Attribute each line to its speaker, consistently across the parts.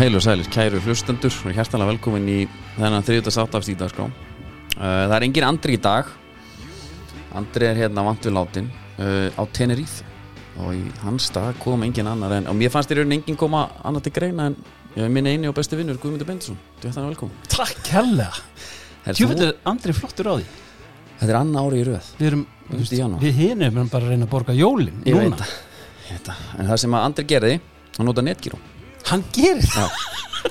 Speaker 1: Heil og sælir, kæru hlustendur og hjertalega velkomin í þennan 38. af stíðdagskrá uh, Það er engin Andri í dag Andri er hérna vant við látin uh, á Tenerife og í hans dag kom engin annar en, og mér fannst í rauninni engin koma annar til greina en uh, minn eini og besti vinnur Guðmundur Bendisson, þú ert hann velkomin
Speaker 2: Takk hella
Speaker 1: Helst
Speaker 2: Tjúfell
Speaker 1: þú-
Speaker 2: er Andri flottur á því
Speaker 1: Þetta er annar ári í röð
Speaker 2: Við erum,
Speaker 1: Þú veist, í janúar.
Speaker 2: við hinum erum bara að reyna að borga jólin
Speaker 1: Ég veit
Speaker 2: núna
Speaker 1: það, ég veit það. En það sem að Andri gerði, hann nota netgíró
Speaker 2: Hann gerir það
Speaker 1: Já.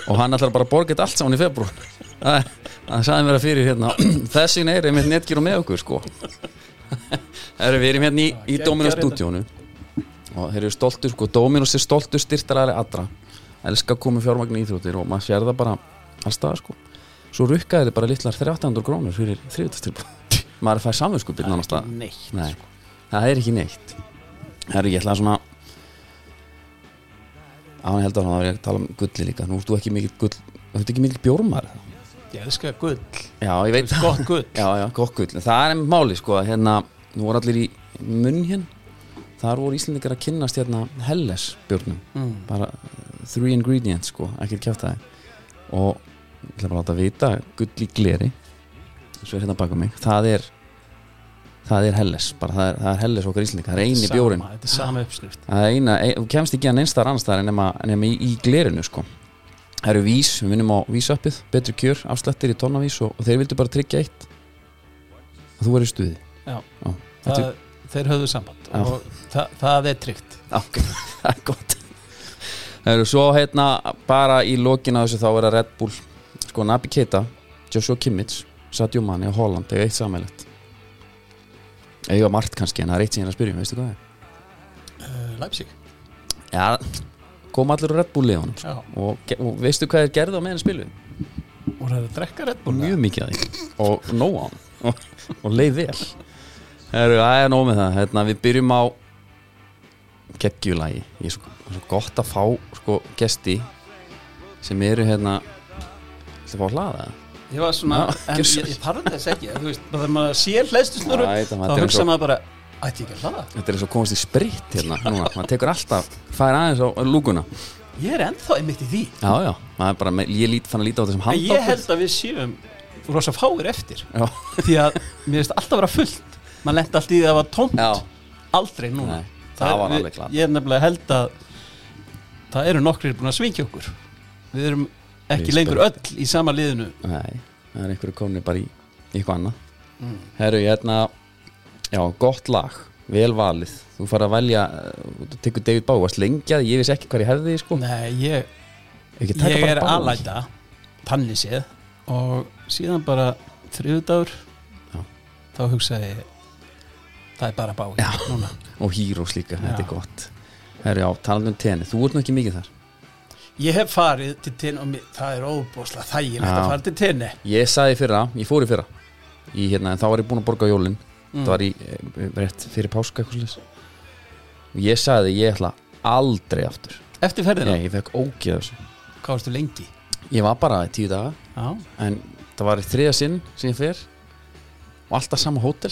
Speaker 1: og hann ætlar bara að borga þetta allt saman í februar það það sagði mér að fyrir hérna þessin er einmitt netgíru með okkur sko það eru við erum hérna í, í Dominos stúdíónu og þeir eru stoltur sko Dominos er stoltur styrtarari allra elska að koma fjármagn í íþróttir og maður sér það bara allstað sko svo rukkaði þið bara litlar 1300 krónur fyrir þriðutastilbúð maður fær samvinskupið nánast að
Speaker 2: Neitt
Speaker 1: Nei, það er ekki neitt Það er ég ætla að svona á hann heldur hann að ég að tala um gulli líka nú ertu ekki mikill gull þú ert ekki mikill bjórmar
Speaker 2: Ég elska gull
Speaker 1: Já, ég veit það
Speaker 2: Gott gull
Speaker 1: Já, já, kokkull En Það er einmitt máli sko að hérna nú voru allir í munn hérna þar voru Íslendingar að kynnast hérna Helles bjórnum
Speaker 2: mm.
Speaker 1: bara eh, three ingredients sko ekkert kjátt það og ég ætla bara að láta vita gull í gleri svo er hérna baka mig það er það er Helles bara það er, það er Helles okkar Íslendingar það er eini
Speaker 2: Sama,
Speaker 1: bjórinn
Speaker 2: Þetta er sama uppskrift
Speaker 1: Það er eina, ein, þú kemst ekki að neinstar annars þar nema, nema í, í glerinu sko Það eru vís, við vinnum á vísappið, betri kjör, afslættir í tonnavís og, og þeir vildu bara tryggja eitt að þú verður í stuði
Speaker 2: Já.
Speaker 1: Já.
Speaker 2: það,
Speaker 1: Þetta-
Speaker 2: Þeir höfðu samband
Speaker 1: Já.
Speaker 2: Og það, það er tryggt
Speaker 1: Já, ok, það er gott Það eru svo hérna bara í lokin á þessu þá vera Red Bull sko Nabi Keita, Joshua Kimmich Sadio Mane og Holland, eiga eitt samælegt eiga margt kannski en það er eitt sem ég er að spyrja um, veistu hvað það er?
Speaker 2: uh, Leipzig
Speaker 1: Já, kom allir úr Red Bull liðanum
Speaker 2: Já.
Speaker 1: og, ge- og veistu hvað þeir gerðu á meðan spilu?
Speaker 2: Og það er að drekka Red Bull
Speaker 1: Mjög mikið að því og nóg á hann og, og leið vel Heru, Það er nóg með það, hérna, við byrjum á geggjulagi Ég er svo, svo gott að fá sko, gesti sem eru hérna Þetta fá að hlaða það?
Speaker 2: Ég var svona
Speaker 1: Já,
Speaker 2: En
Speaker 1: gjörðu svo
Speaker 2: ég, ég parði þess ekki Þú veist Þegar maður sér hlæstu snurru
Speaker 1: Æ, þetta-
Speaker 2: Þá
Speaker 1: þetta er
Speaker 2: hugsa
Speaker 1: svo-
Speaker 2: maður bara Ætti ég ekki að hlaða
Speaker 1: Þetta er eins og komast í spritt hérna núna, maður tekur alltaf, fær aðeins á lúkuna
Speaker 2: Ég er ennþá einmitt í því
Speaker 1: Já, já, maður er bara, með, ég lít, fann að líta á þessum
Speaker 2: En ég
Speaker 1: handátt
Speaker 2: held að við séum Rosa fáir eftir
Speaker 1: Já,
Speaker 2: því að mér finnst alltaf að vera fullt maður lent alltaf í því að það var tómt
Speaker 1: já,
Speaker 2: aldrei núna
Speaker 1: Nei, það var
Speaker 2: við-
Speaker 1: alveg klart.
Speaker 2: ég er nefnilega held að það eru nokkrir búin að svinkja okkur við erum ekki
Speaker 1: Við
Speaker 2: lengur öll í sama liðinu
Speaker 1: nei, það er einhverju komni bara í, í eitthvað annað
Speaker 2: Mm.
Speaker 1: Herru, hérna Já, gott lag, vel valið Þú farið að velja, eh, þú tekur David Bowie Varst lengi að því, ég vissi ekki hvað ég hefði því, sko
Speaker 2: nei, ég,
Speaker 1: Ekki taka
Speaker 2: ég
Speaker 1: bara
Speaker 2: er
Speaker 1: Bowie.
Speaker 2: alæta tanni séð og síðan bara þriðudagur
Speaker 1: Já.
Speaker 2: þá hugsaði ég það er bara báði
Speaker 1: Já.
Speaker 2: núna
Speaker 1: Og Heroes líka, þetta
Speaker 2: Já.
Speaker 1: er gott Herru, já, talandi um tenni, þú ert nú ekki mikið þar
Speaker 2: ég hef farið til tinn og mér, það er óbúslega þægilegt
Speaker 1: Já.
Speaker 2: að fara til tinni
Speaker 1: Ég sagði í fyrra, ég fór í fyrra í, hérna, En þá var ég búinn að borga á jólin
Speaker 2: Mm.
Speaker 1: Það var í, eh, rétt fyrir páska eitthvað slis Ég sagði, ég ætla aldrei aftur
Speaker 2: eftir ferðina,
Speaker 1: Nei, ég fekk ógeð af þessu.
Speaker 2: hvað varstu lengi
Speaker 1: Ég var bara í tíu daga
Speaker 2: já,
Speaker 1: En það var í þriða sinn sem ég fer Og alltaf sama hótel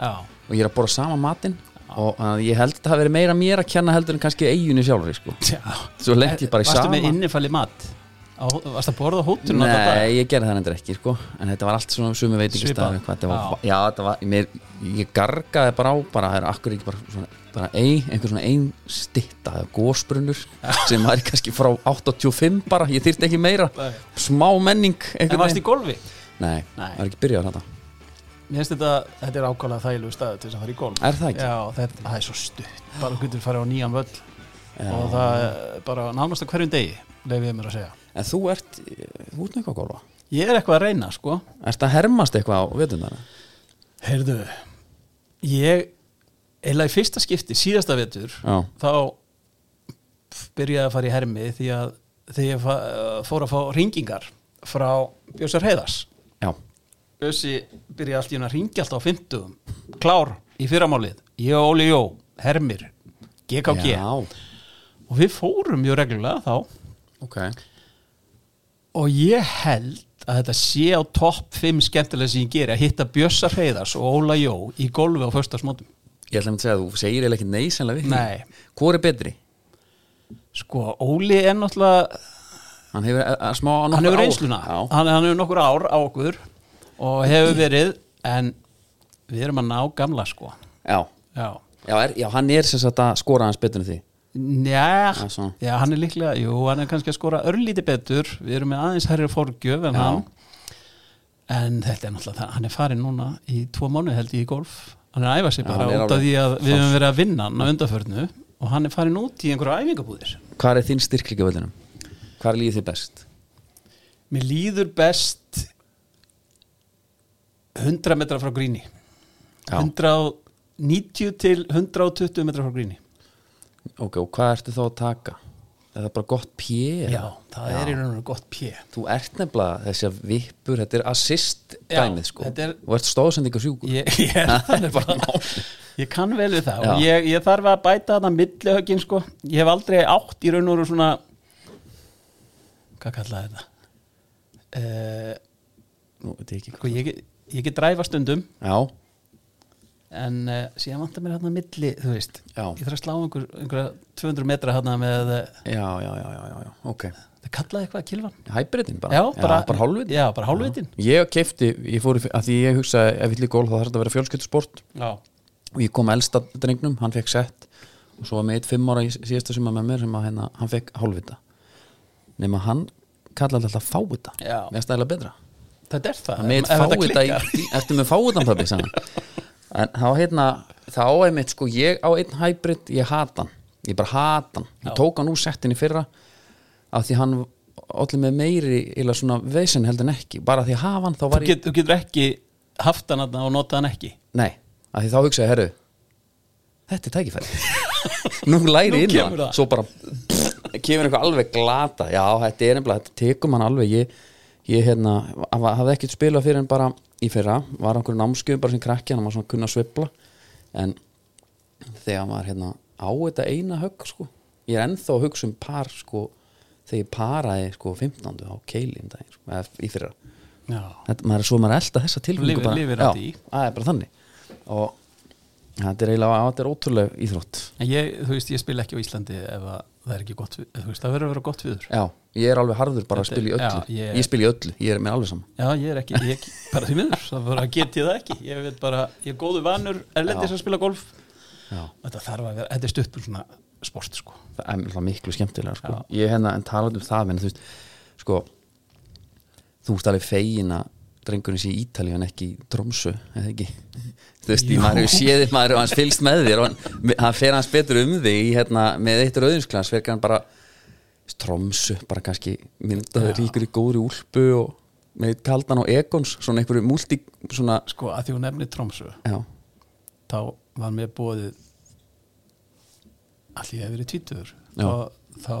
Speaker 2: já
Speaker 1: og ég er að bora sama matinn og að ég held að það hafi verið meira mér að kenna heldur en kannski eiginu sjálfri sko.
Speaker 2: Já,
Speaker 1: svo lengt ég bara í
Speaker 2: varstu
Speaker 1: sama
Speaker 2: með innifalli mat? Á, varstu að borða hótturinn á þetta?
Speaker 1: Nei, ég gerði það endur ekki sko. en þetta var allt svona sumi veitingastæð
Speaker 2: Svipað.
Speaker 1: já. já, þetta var mér, ég gargaði bara á bara, það er akkur ekki bara, svona, bara ein, einhver svona ein stitta eða gósbrunnur sem var kannski frá 85 bara, ég þyrfti ekki meira
Speaker 2: Nei.
Speaker 1: smá menning
Speaker 2: En varstu í golfi?
Speaker 1: Nei,
Speaker 2: Nei.
Speaker 1: það er ekki byrjað þetta
Speaker 2: Mér finnst þetta, þetta er ákvæmlega þægilegu staðu til þess að fara í golf
Speaker 1: Er það ekki?
Speaker 2: Já, þetta, það er svo stutt Bara þú getur farið á nýjan völl
Speaker 1: Já.
Speaker 2: Og það er bara nánast á hverjum degi Leif ég mér að segja
Speaker 1: En þú ert, þú ert nú eitthvað að golfa
Speaker 2: Ég er eitthvað að reyna, sko
Speaker 1: Erst að hermast eitthvað á vetundana?
Speaker 2: Heyrðu, ég Eila í fyrsta skipti, síðasta vetur
Speaker 1: Já,
Speaker 2: Þá byrjaði að fara í hermi Því að þegar ég fa- fór að fá ringingar Frá Björsar Heiðars
Speaker 1: já
Speaker 2: Össi byrja allt í hún að ringja alltaf á 50 klár í fyrramálið ég og Óli Jó, Hermir GKG
Speaker 1: Já,
Speaker 2: og við fórum mjög reglulega þá
Speaker 1: ok
Speaker 2: og ég held að þetta sé á topp 5 skemmtilega sem ég geri að hitta Bjössa Hreiðars og Óla Jó í golfi á föstasmótum
Speaker 1: Ég ætla að segja að þú segir eða ekki nei sennilega við
Speaker 2: Nei.
Speaker 1: Hvor er betri?
Speaker 2: sko Óli er náttúrulega
Speaker 1: Hann hefur eh, eh, smá nokkur
Speaker 2: hann hefur
Speaker 1: ár.
Speaker 2: reynsluna
Speaker 1: Já.
Speaker 2: hann, hann hefur nokkur ár á okkur og hefur verið en við erum að ná gamla sko
Speaker 1: Já.
Speaker 2: já
Speaker 1: Já, er, já, hann er sem sagt að skora hans betur en því
Speaker 2: Njá,
Speaker 1: Já, svona.
Speaker 2: já, hann er líklega, jú, hann er kannski að skora örlíti betur, við erum með aðeins herri forgjöf en
Speaker 1: Já.
Speaker 2: hann en þetta er náttúrulega það, hann er farin núna í tvo mánu held ég í golf hann er að æfa sig
Speaker 1: Já,
Speaker 2: bara
Speaker 1: hann
Speaker 2: út
Speaker 1: er
Speaker 2: af
Speaker 1: alveg
Speaker 2: því að við
Speaker 1: fast.
Speaker 2: höfum verið að vinna hann á undaförnu og hann er farin út í einhverja æfingabúðir
Speaker 1: Hvað er þín styrkleika völdinum? Hvað er líðið þið best?
Speaker 2: Mér líður best 100 metra frá gríni
Speaker 1: Já.
Speaker 2: 190 til 120 metra frá gríni
Speaker 1: Ok, og hvað ertu þá að taka? Er það bara gott pjé?
Speaker 2: Já, það er í raun og veru gott pjö
Speaker 1: Þú ert nefnilega þessi að vippur, þetta er assist dæmið
Speaker 2: Já,
Speaker 1: sko
Speaker 2: þetta er-
Speaker 1: og ert stóðsendingar sjúkur
Speaker 2: Ég, ég er
Speaker 1: Það
Speaker 2: þannig
Speaker 1: er bara mál
Speaker 2: Ég kann vel við það
Speaker 1: Já.
Speaker 2: og ég, ég þarf að bæta þarna millihöggin sko Ég hef aldrei átt í raun og veru svona Hvað kallaði þetta? Uh,
Speaker 1: Nú, veit ég ekki hvað-
Speaker 2: sko, ég, ég get dræfa stundum
Speaker 1: Já,
Speaker 2: en uh, síðan vantar mér hérna milli, þú veist
Speaker 1: Já.
Speaker 2: Ég þarf að slá einhver, einhverja 200 metra hérna með eh,
Speaker 1: já, já, já, já, já, já. ok
Speaker 2: Það kallaði eitthvað kilvan
Speaker 1: Hæbritin bara,
Speaker 2: Já, bara,
Speaker 1: bara hálfvit
Speaker 2: Já, bara hálfvitin
Speaker 1: Ég kefti, ég fór í, að því ég hugsaði ef við líka gól þá þarf þetta að vera fjölskyldusport
Speaker 2: Já,
Speaker 1: og ég kom elsta drengnum, hann fekk sett og svo var með eitt fimm ára í síðasta suma með mér sem að hérna, hann fekk hálfvita nema hann kallaði alltaf fávita
Speaker 2: Já.
Speaker 1: mér stæla betra
Speaker 2: þetta er það
Speaker 1: hann með
Speaker 2: ef þetta
Speaker 1: fávita
Speaker 2: klikkar.
Speaker 1: í, eftir með fávitan pabbi sagði hann. en þá hérna þá er mitt sko, ég á einn hybrid ég hata hann, ég bara hata hann ég tók hann úr settin í fyrra af því hann allir með meiri eða svona vesen heldur en ekki bara af því að hafa hann þá
Speaker 2: Þú
Speaker 1: var ég,
Speaker 2: get- þú getur ekki haft hann þarna og notað hann ekki
Speaker 1: nei af því þá hugsaði, herru þetta er tækifæri nú
Speaker 2: Nú
Speaker 1: læri inn á
Speaker 2: kemur það.
Speaker 1: hann svo bara pff, kemur eitthvað alveg glata já, þetta er nefnilega, þetta tekum hann alveg ég, ég hérna, hafa- hafði ekkert spilað fyrir en bara í fyrra, var á einhverju námskeið bara sem krakki, hann var svona að kunna að sveifla en þegar maður hérna á þetta eina högg sko ég er ennþá að hugsa um par sko þegar ég paraði sko 15. á keilin daginn, sko, eða í fyrra
Speaker 2: Já
Speaker 1: þetta, maður er svo maður er að elda þessa tilfinningu
Speaker 2: Lifir-
Speaker 1: bara,
Speaker 2: lifir þetta í.
Speaker 1: já, það er bara þannig og þetta er eiginlega þetta er ótrúlega íþrótt
Speaker 2: En ég, þú veist, ég spila ekki á Íslandi ef að það er ekki gott, vi- þú veist, það verður að vera gott viður.
Speaker 1: já, ég er alveg harður bara að
Speaker 2: Þetta
Speaker 1: spila í
Speaker 2: er-
Speaker 1: öllu
Speaker 2: já, ég-
Speaker 1: ég spila í öllu, ég er með alveg saman
Speaker 2: Já, ég er ekki, ég ekki bara því miður, það bara get ég það ekki. Ég veit bara, ég er góðu vanur, erlendis
Speaker 1: Já.
Speaker 2: að spila golf.
Speaker 1: já.
Speaker 2: Þetta þarf að vera, þetta er stutt um svona sport, sko.
Speaker 1: það er náttúrulega miklu skemmtilega sko. ég hérna en talað um það menn, þú veist, sko þú veist alveg fegin að drengurinn sé í Ítalíu en ekki í Tromsu eða ekki, þú veist,
Speaker 2: Jú.
Speaker 1: ég maður hefur séð þér maður og hans fylgst með þér og hann, hann fer hans betur um þig í, hérna, með eitt rauðinsklans fer hann bara Tromsu, bara kannski myndaður ríkur í góðri úlpu og með eitt kaldan og egons svona einhverju múlti, svona
Speaker 2: Sko, að því hún nefnir Tromsö,
Speaker 1: já,
Speaker 2: þá var mér bóðið, allir ég hef verið tvítur,
Speaker 1: Já.
Speaker 2: þá, þá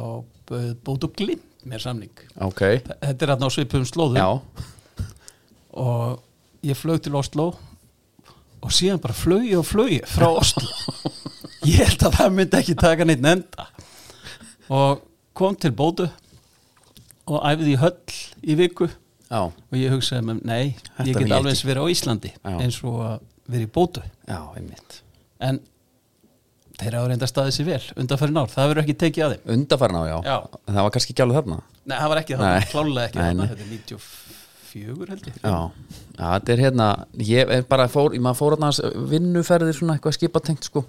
Speaker 2: bauð- bóð upp glimt mér samning.
Speaker 1: ok
Speaker 2: Þa- Þetta er hann á svipum slóðum.
Speaker 1: já,
Speaker 2: og ég flög til Oslo og síðan bara flög ég og flög ég frá Oslo ég held að það myndi ekki taka neitt enda og kom til Bótu og æfði í höll í viku
Speaker 1: já,
Speaker 2: og ég hugsaði með, nei,
Speaker 1: Þetta
Speaker 2: ég
Speaker 1: vil
Speaker 2: get
Speaker 1: ég
Speaker 2: alveg eins verið á Íslandi
Speaker 1: Já.
Speaker 2: eins og að vera í Bótu
Speaker 1: já, einmitt
Speaker 2: en þeir hafa reynda staðið sér vel undanfærin ár, það verður ekki tekið að þeim
Speaker 1: undarfærin á, já,
Speaker 2: Já.
Speaker 1: En það var kannski ekki alveg þarna
Speaker 2: nei, það var ekki það,
Speaker 1: Nei.
Speaker 2: klálega ekki
Speaker 1: Nei,
Speaker 2: það
Speaker 1: nei.
Speaker 2: þetta er 94 held ég
Speaker 1: Já, já þetta er hérna ég er bara fór, ég maður fór að hans vinnuferðir svona eitthvað skipatengt sko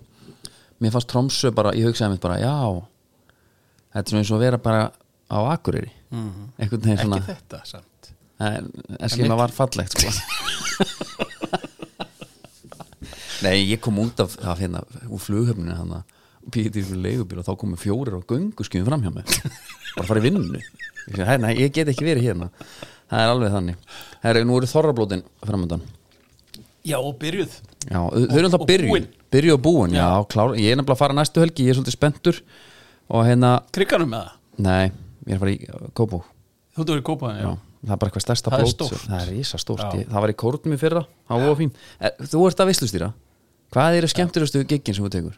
Speaker 1: mér fannst trómsu bara, ég hugsaði mér bara já, þetta er svona eins og að vera bara á Akureyri einhvern veginn svona,
Speaker 2: Mhm. ekki þetta samt
Speaker 1: en, en skil maður var fallegt sko Nei, ég kom út af, af hérna, úr flughöfninu hann að pítið fyrir leigubíl og þá komum fjórir á göngu skjum fram hjá mig bara farið vinnu ég, segi, "Hæ, nei, ég get ekki verið hérna það er alveg þannig Herri, nú eru þorrablótin framöndan
Speaker 2: já, og byrjuð
Speaker 1: Já, þau eru alltaf
Speaker 2: og
Speaker 1: byrju
Speaker 2: búin.
Speaker 1: Byrju og búin, já, klár Ég er nefnilega að fara næstu helgi, ég er svolítið spenntur Og hérna,
Speaker 2: Krikkanum með það?
Speaker 1: nei, ég er að fara í Kóbú
Speaker 2: Þú ert að vera í kópaðinu?
Speaker 1: Já, það er bara eitthvað stærsta
Speaker 2: Það er
Speaker 1: blót
Speaker 2: stórt.
Speaker 1: Það er risa
Speaker 2: Já.
Speaker 1: stórt, ég, það var í kórnum í fyrra Það var fín, er, Eh, þú ert að vislustýra Hvað eru skemmtilegustu giggin sem þú tekur?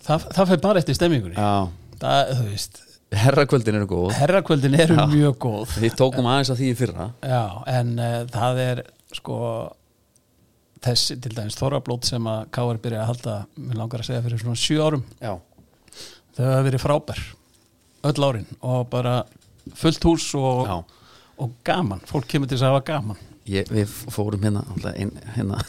Speaker 2: Það, það fer bara eftir stemmingunni.
Speaker 1: Já,
Speaker 2: Það, þú veist,
Speaker 1: herrakvöldin eru góð
Speaker 2: herrakvöldin eru mjög góð.
Speaker 1: Við tókum aðeins að því í fyrra
Speaker 2: Já, en uh, það er sko þessi til dæmis Þorablót sem að K.R. byrjaði að halda, mér langar að segja fyrir svona sjö árum,
Speaker 1: Já,
Speaker 2: þau hafa verið frábær. öll árin og bara fullt hús og,
Speaker 1: Já.
Speaker 2: og gaman, fólk kemur til þess að hafa gaman
Speaker 1: ég, Við fórum hérna, alltaf ein, hérna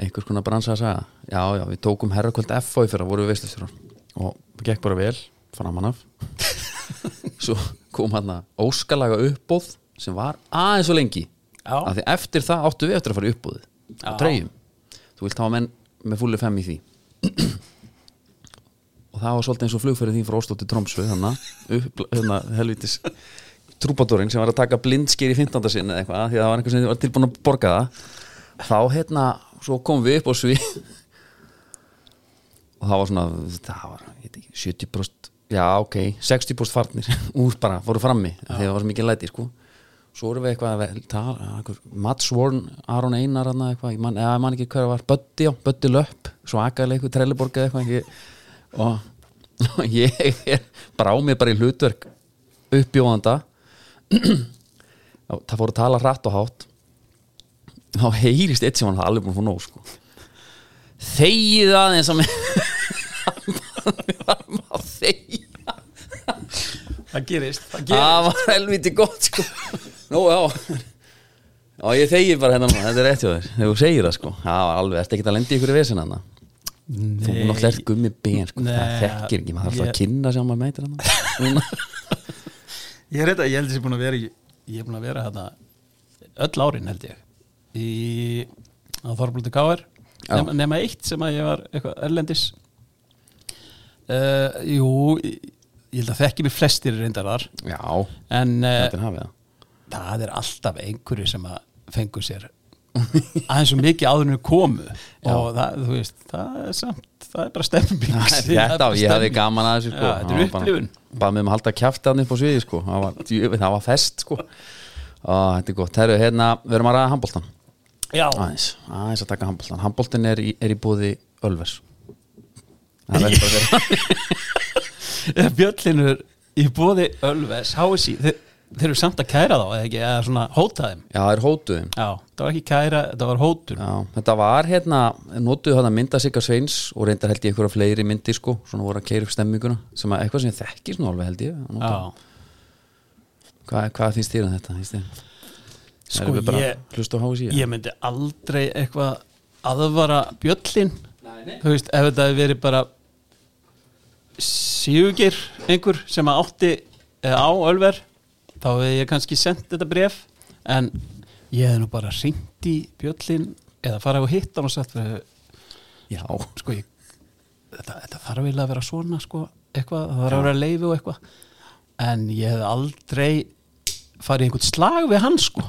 Speaker 1: einhvers konar bransa að segja Já, já, við tókum herrakvöld FO í fyrra, vorum við veistlustjórar og það gekk bara vel, framan af Svo kom hann óskalaga uppbóð sem var aðeins og lengi
Speaker 2: Já.
Speaker 1: af því eftir það áttu við eftir að fara í uppbóðið á
Speaker 2: Já.
Speaker 1: treyjum Þú vilt hafa menn með fullu fem í því og það var svolítið eins og flugferðið þín frá Óstótti Tromsö þannig, upp, hérna, helvitis trúbadórin sem var að taka blindskýr í 15. sinni eða eitthvað, því að það var einhver sem var tilbúin að borga það þá hérna, svo komum við upp á svið og það var svona það var, ég veit ekki, 70 já, ok, 60 farnir úr bara, voru frammi, af því að það var svo mikið læti sko, svo voru við eitthvað að tala, einhver, Mats Warren, Aron Einar hana, eitthvað, ég man, eða, ég man ekki hver það var Böddi, já, Böddi Löpp, svakaleikur Trelleborg eða eitthvað, ég og, og ég er brá mig bara í hlutverk uppbjóðanda það fór að tala hratt og hátt þá heyrist eitt sem hann hafði alveg búin að fá nóg sko. þegið aðeins að mér Mér var bara að þegja
Speaker 2: það gerist, það
Speaker 1: það var helviti gott sko. nú já og ég þegi bara hérna núna, þetta er rétt hjá þér þegar þú segir það sko, það var alveg, ertu ekkert að lendi ykkur í vesina hana Þú
Speaker 2: Nei.
Speaker 1: náttúrulega er gummi ben sko. Það
Speaker 2: Nei,
Speaker 1: þekkir ekki, maður þarf alltaf
Speaker 2: ég-
Speaker 1: að kynna sem maður meitir hann
Speaker 2: ég er þetta, ég held að ég er búin að vera í- ég er búin að vera hérna öll árin held ég í að Þorblóti Káir
Speaker 1: Já.
Speaker 2: nema, nema eitt sem að ég var eitthvað erlendis uh, jú ég ég held að þekki mér flestir reyndar þar
Speaker 1: Já,
Speaker 2: en uh,
Speaker 1: þetta er hafið það
Speaker 2: það er alltaf einhverju sem að fengu sér aðeins og mikið áðurinu komu og það, þú veist, það er samt það er bara stemming
Speaker 1: Þetta, ég hefði gaman að þessu
Speaker 2: Já, þetta
Speaker 1: sko.
Speaker 2: er
Speaker 1: Það var bara-
Speaker 2: upplifun.
Speaker 1: Bað mig um að halda kjaftan upp á sviði sko. það, var, djöfull, það var fest sko. Á, Þetta er gott, herru, hérna Við erum að ræða handbóltan
Speaker 2: Já,
Speaker 1: Aðeins, aðeins að taka handbóltan Handbóltin er, í- er í búði Ölvers Það verður bara að vera
Speaker 2: bjöllinur í bóði Ölves, HSI þeir, þeir eru samt að kæra þá, eða ekki eða svona hóta þeim,
Speaker 1: Já, það er hótuðum
Speaker 2: já, það var ekki kæra það var hótun,
Speaker 1: Já, þetta var hérna, notuðu hann að mynda Sigga Sveins og reyndar held ég einhverja fleiri myndi sko, svona voru að keira upp stemminguna sem að eitthvað sem ég þekki svona alveg held ég að nota.
Speaker 2: já
Speaker 1: Hvað, hvað finnst þér um þetta? Finnst þér?
Speaker 2: sko
Speaker 1: Erum við bara
Speaker 2: ég,
Speaker 1: hlust á hási
Speaker 2: ég myndi aldrei eitthvað aðvara bjöllin
Speaker 1: Nei,
Speaker 2: þú veist, ef þetta hefði verið bara síugir einhver sem að átti eða á Ölver þá hefði ég kannski sendt þetta bref en ég hefði nú bara ringt í bjöllin eða farið og hitt hann og sagt "Heyrðu,
Speaker 1: Já,
Speaker 2: sko ég þetta, þetta þarf eiginlega að vera svona sko eitthvað, það þarf að vera að leifi og eitthvað en ég hefði aldrei farið í einhvern slag við hann sko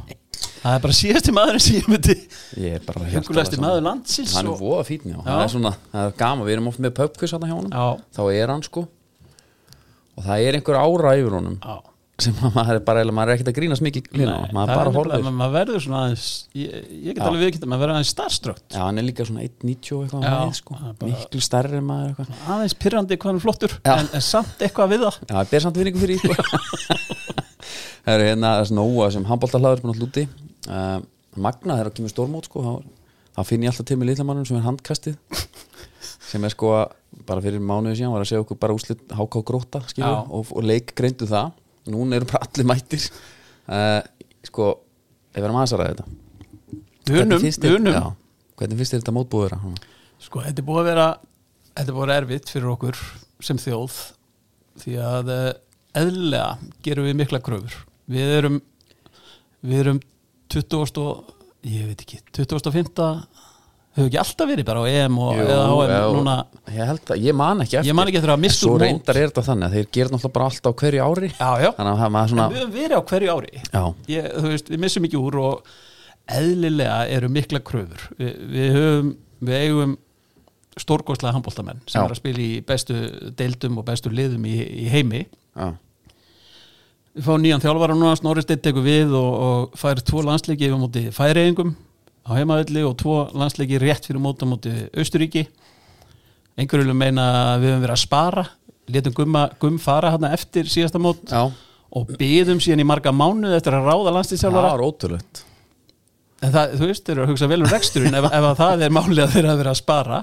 Speaker 2: það er bara síðasti maðurinn sem ég myndi
Speaker 1: ég er bara
Speaker 2: huggulegasti maður landsins sko.
Speaker 1: Hann er
Speaker 2: og,
Speaker 1: voða fítn, já,
Speaker 2: Já.
Speaker 1: það er svona, það er gaman, við erum oft með pöpkus hérna hjá honum,
Speaker 2: Já.
Speaker 1: þá er hann sko og það er einhver ára yfir honum
Speaker 2: á,
Speaker 1: sem að maður er bara, maður er ekkert að grínast mikið lína,
Speaker 2: Nei,
Speaker 1: maður
Speaker 2: það
Speaker 1: bara
Speaker 2: er nefnilega-
Speaker 1: horfir
Speaker 2: ma- maður verður svona aðeins ég, ég get
Speaker 1: Já.
Speaker 2: alveg viðkynnt að maður verður aðeins starströkt
Speaker 1: Já, hann er líka svona 1.90 og eitthvað
Speaker 2: Já,
Speaker 1: á hæð, sko.
Speaker 2: það er bara-
Speaker 1: miklu stærri en maður eitthvað
Speaker 2: aðeins pyrrandi hvað hann er flottur
Speaker 1: Já.
Speaker 2: en, en samt eitthvað við það
Speaker 1: Já, það ber samt vinningu fyrir íkvæð Það eru hérna þessi nóa sem handbóltahlaður búin að lúti uh, Magna þegar að kemur stórmót sko, þá, þá finn ég alltaf til með litlamannum sem er handkastið sem er sko að bara fyrir mánuði síðan var að segja okkur bara úslit háká gróta skilur,
Speaker 2: Já.
Speaker 1: og, og leik greindu það núna eru bara allir mættir uh, sko, ef við erum aðeins að ræða þetta
Speaker 2: unum,
Speaker 1: finnst þér-
Speaker 2: unum
Speaker 1: Já, hvernig finnst þér þetta mótbúður
Speaker 2: sko, þetta er búið að vera þetta er búið að vera erfitt fyrir okkur sem þjóð því að eh, eðlilega gerum við mikla kröfur við erum við erum 20 og ég veit ekki, 25 hefur ekki alltaf verið bara á EM og eða HM núna
Speaker 1: ég, held að, ég man ekki eftir
Speaker 2: Ég man ekki eftir að hafa misst
Speaker 1: En
Speaker 2: úr
Speaker 1: Svo
Speaker 2: mót.
Speaker 1: reyndar er þetta þannig að þeir gerir náttúrulega bara allt á hverju ári
Speaker 2: já, já,
Speaker 1: Þannig að það maður
Speaker 2: En
Speaker 1: svona
Speaker 2: við höfum verið á hverju ári
Speaker 1: Já,
Speaker 2: ég, þú veist, við missum ekki úr og eðlilega eru mikla kröfur Vi, við höfum, við eigum stórgóðslega handbóltamenn sem
Speaker 1: Já.
Speaker 2: er að spila í bestu deildum og bestu liðum í, í heimi
Speaker 1: já,
Speaker 2: við fáum nýjan þjálfara núna, Snorri Steinn tekur við og, og fær tvo landsleiki yfir á móti færeigingum á heimaðalli og tvo landsleiki rétt fyrir móta móti Austuríki einhverju vil meina að við höfum verið að spara letum gumma, gum fara hérna eftir síðasta mót
Speaker 1: já.
Speaker 2: og byðum síðan í marga mánuð eftir að ráða
Speaker 1: Það
Speaker 2: landsleikþjálfara
Speaker 1: var ótrúlegt
Speaker 2: en það, þú veist, þeir eru að hugsa vel um reksturinn ef, ef að það er málið að þeir eru að vera að spara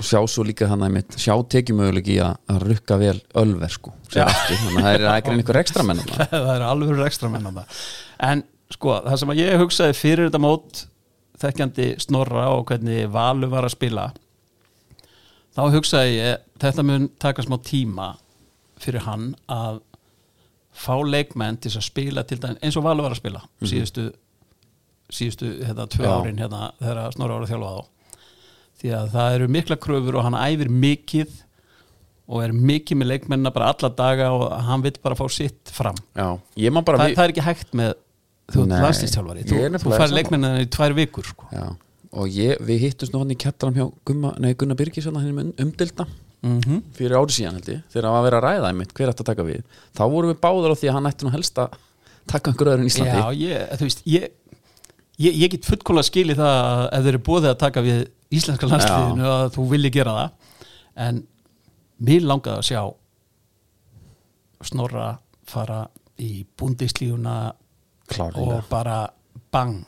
Speaker 1: og sjá svo líka hann að mitt sjá tekjumöguleiki í að, að rukka vel ölver sko, sem eftir, þannig að það er ekki einhver ekstra menn þarna.
Speaker 2: það eru alveg ekstra menn á það en sko, það sem að ég hugsaði fyrir þetta mót þekkjandi snorra og hvernig Valur var að spila þá hugsaði ég þetta mun taka smá tíma fyrir hann að fá leikmenn til þess að spila til dæmis eins og Valur var að spila síðustu, síðustu hérna, tvö
Speaker 1: Mhm. Já.
Speaker 2: árin hérna, þegar snorra var að þjálfa þá því að það eru mikla kröfur og hann æfir mikið og er mikið með leikmennina bara alla daga og hann vill bara fá sitt fram
Speaker 1: Já, ég má bara
Speaker 2: það,
Speaker 1: við-
Speaker 2: það er ekki hægt með þú
Speaker 1: Nei,
Speaker 2: landslýstjálfari,
Speaker 1: ég er
Speaker 2: þú,
Speaker 1: nefnilega
Speaker 2: þú fær
Speaker 1: sammála.
Speaker 2: leikmennina í tvær vikur sko.
Speaker 1: Já, og ég, við hittumst nú hann í kettram hjá Gumma, nei, Gunnar Birgis hann hinn um- umdilda
Speaker 2: mm
Speaker 1: fyrir ári síðan held ég, þegar hann var að vera að ræða einmitt hver ætti að taka við, þá vorum við báður á því að hann ætti nú helst að taka einhver öðrun í Íslandi
Speaker 2: já, ég, þú veist ég, ég, ég get fullkóla skili það að ef þeir eru bóðið að taka við íslenska landslýðinu að þú vilji gera það en mér langaði að sjá snorra fara í bundislífuna
Speaker 1: klárlega,
Speaker 2: og bara bang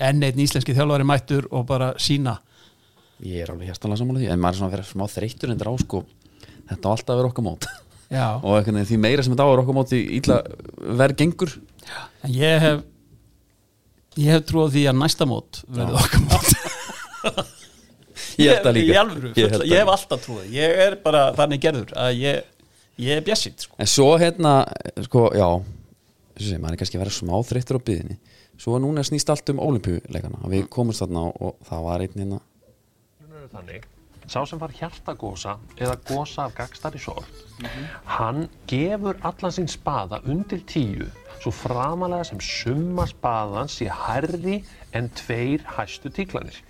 Speaker 2: enn einn íslenski þjálfari mættur og bara sína
Speaker 1: ég er alveg hérstanlega sammála því en maður er svona að vera smá þreyttur endur á sko þetta á alltaf að vera okkar mót
Speaker 2: já,
Speaker 1: og einhvern veginn því meira sem þetta á er okkar mót því illa verð gengur
Speaker 2: En ég hef ég hef trúið því að næsta mót verði okkar mót
Speaker 1: ég held það
Speaker 2: Í
Speaker 1: líka
Speaker 2: alvöru,
Speaker 1: Ég held
Speaker 2: fulla-
Speaker 1: það
Speaker 2: ég hef
Speaker 1: líka.
Speaker 2: alltaf trúið ég er bara þannig gerður að ég, ég er bjassið sko.
Speaker 1: en svo hérna, sko, já þessu sem maður er kannski að vera smá þreyttur á byðinni svo núna snýst allt um olimpíuleikana að við komumst þarna og, og það var einn hérna
Speaker 3: eru þannig sá sem var hjartagosa eða gosa af gagstari sort hann gefur allan sín spaða undir tíu svo framalega sem summa spaðans sé hærri en tveir hæstu tíklanir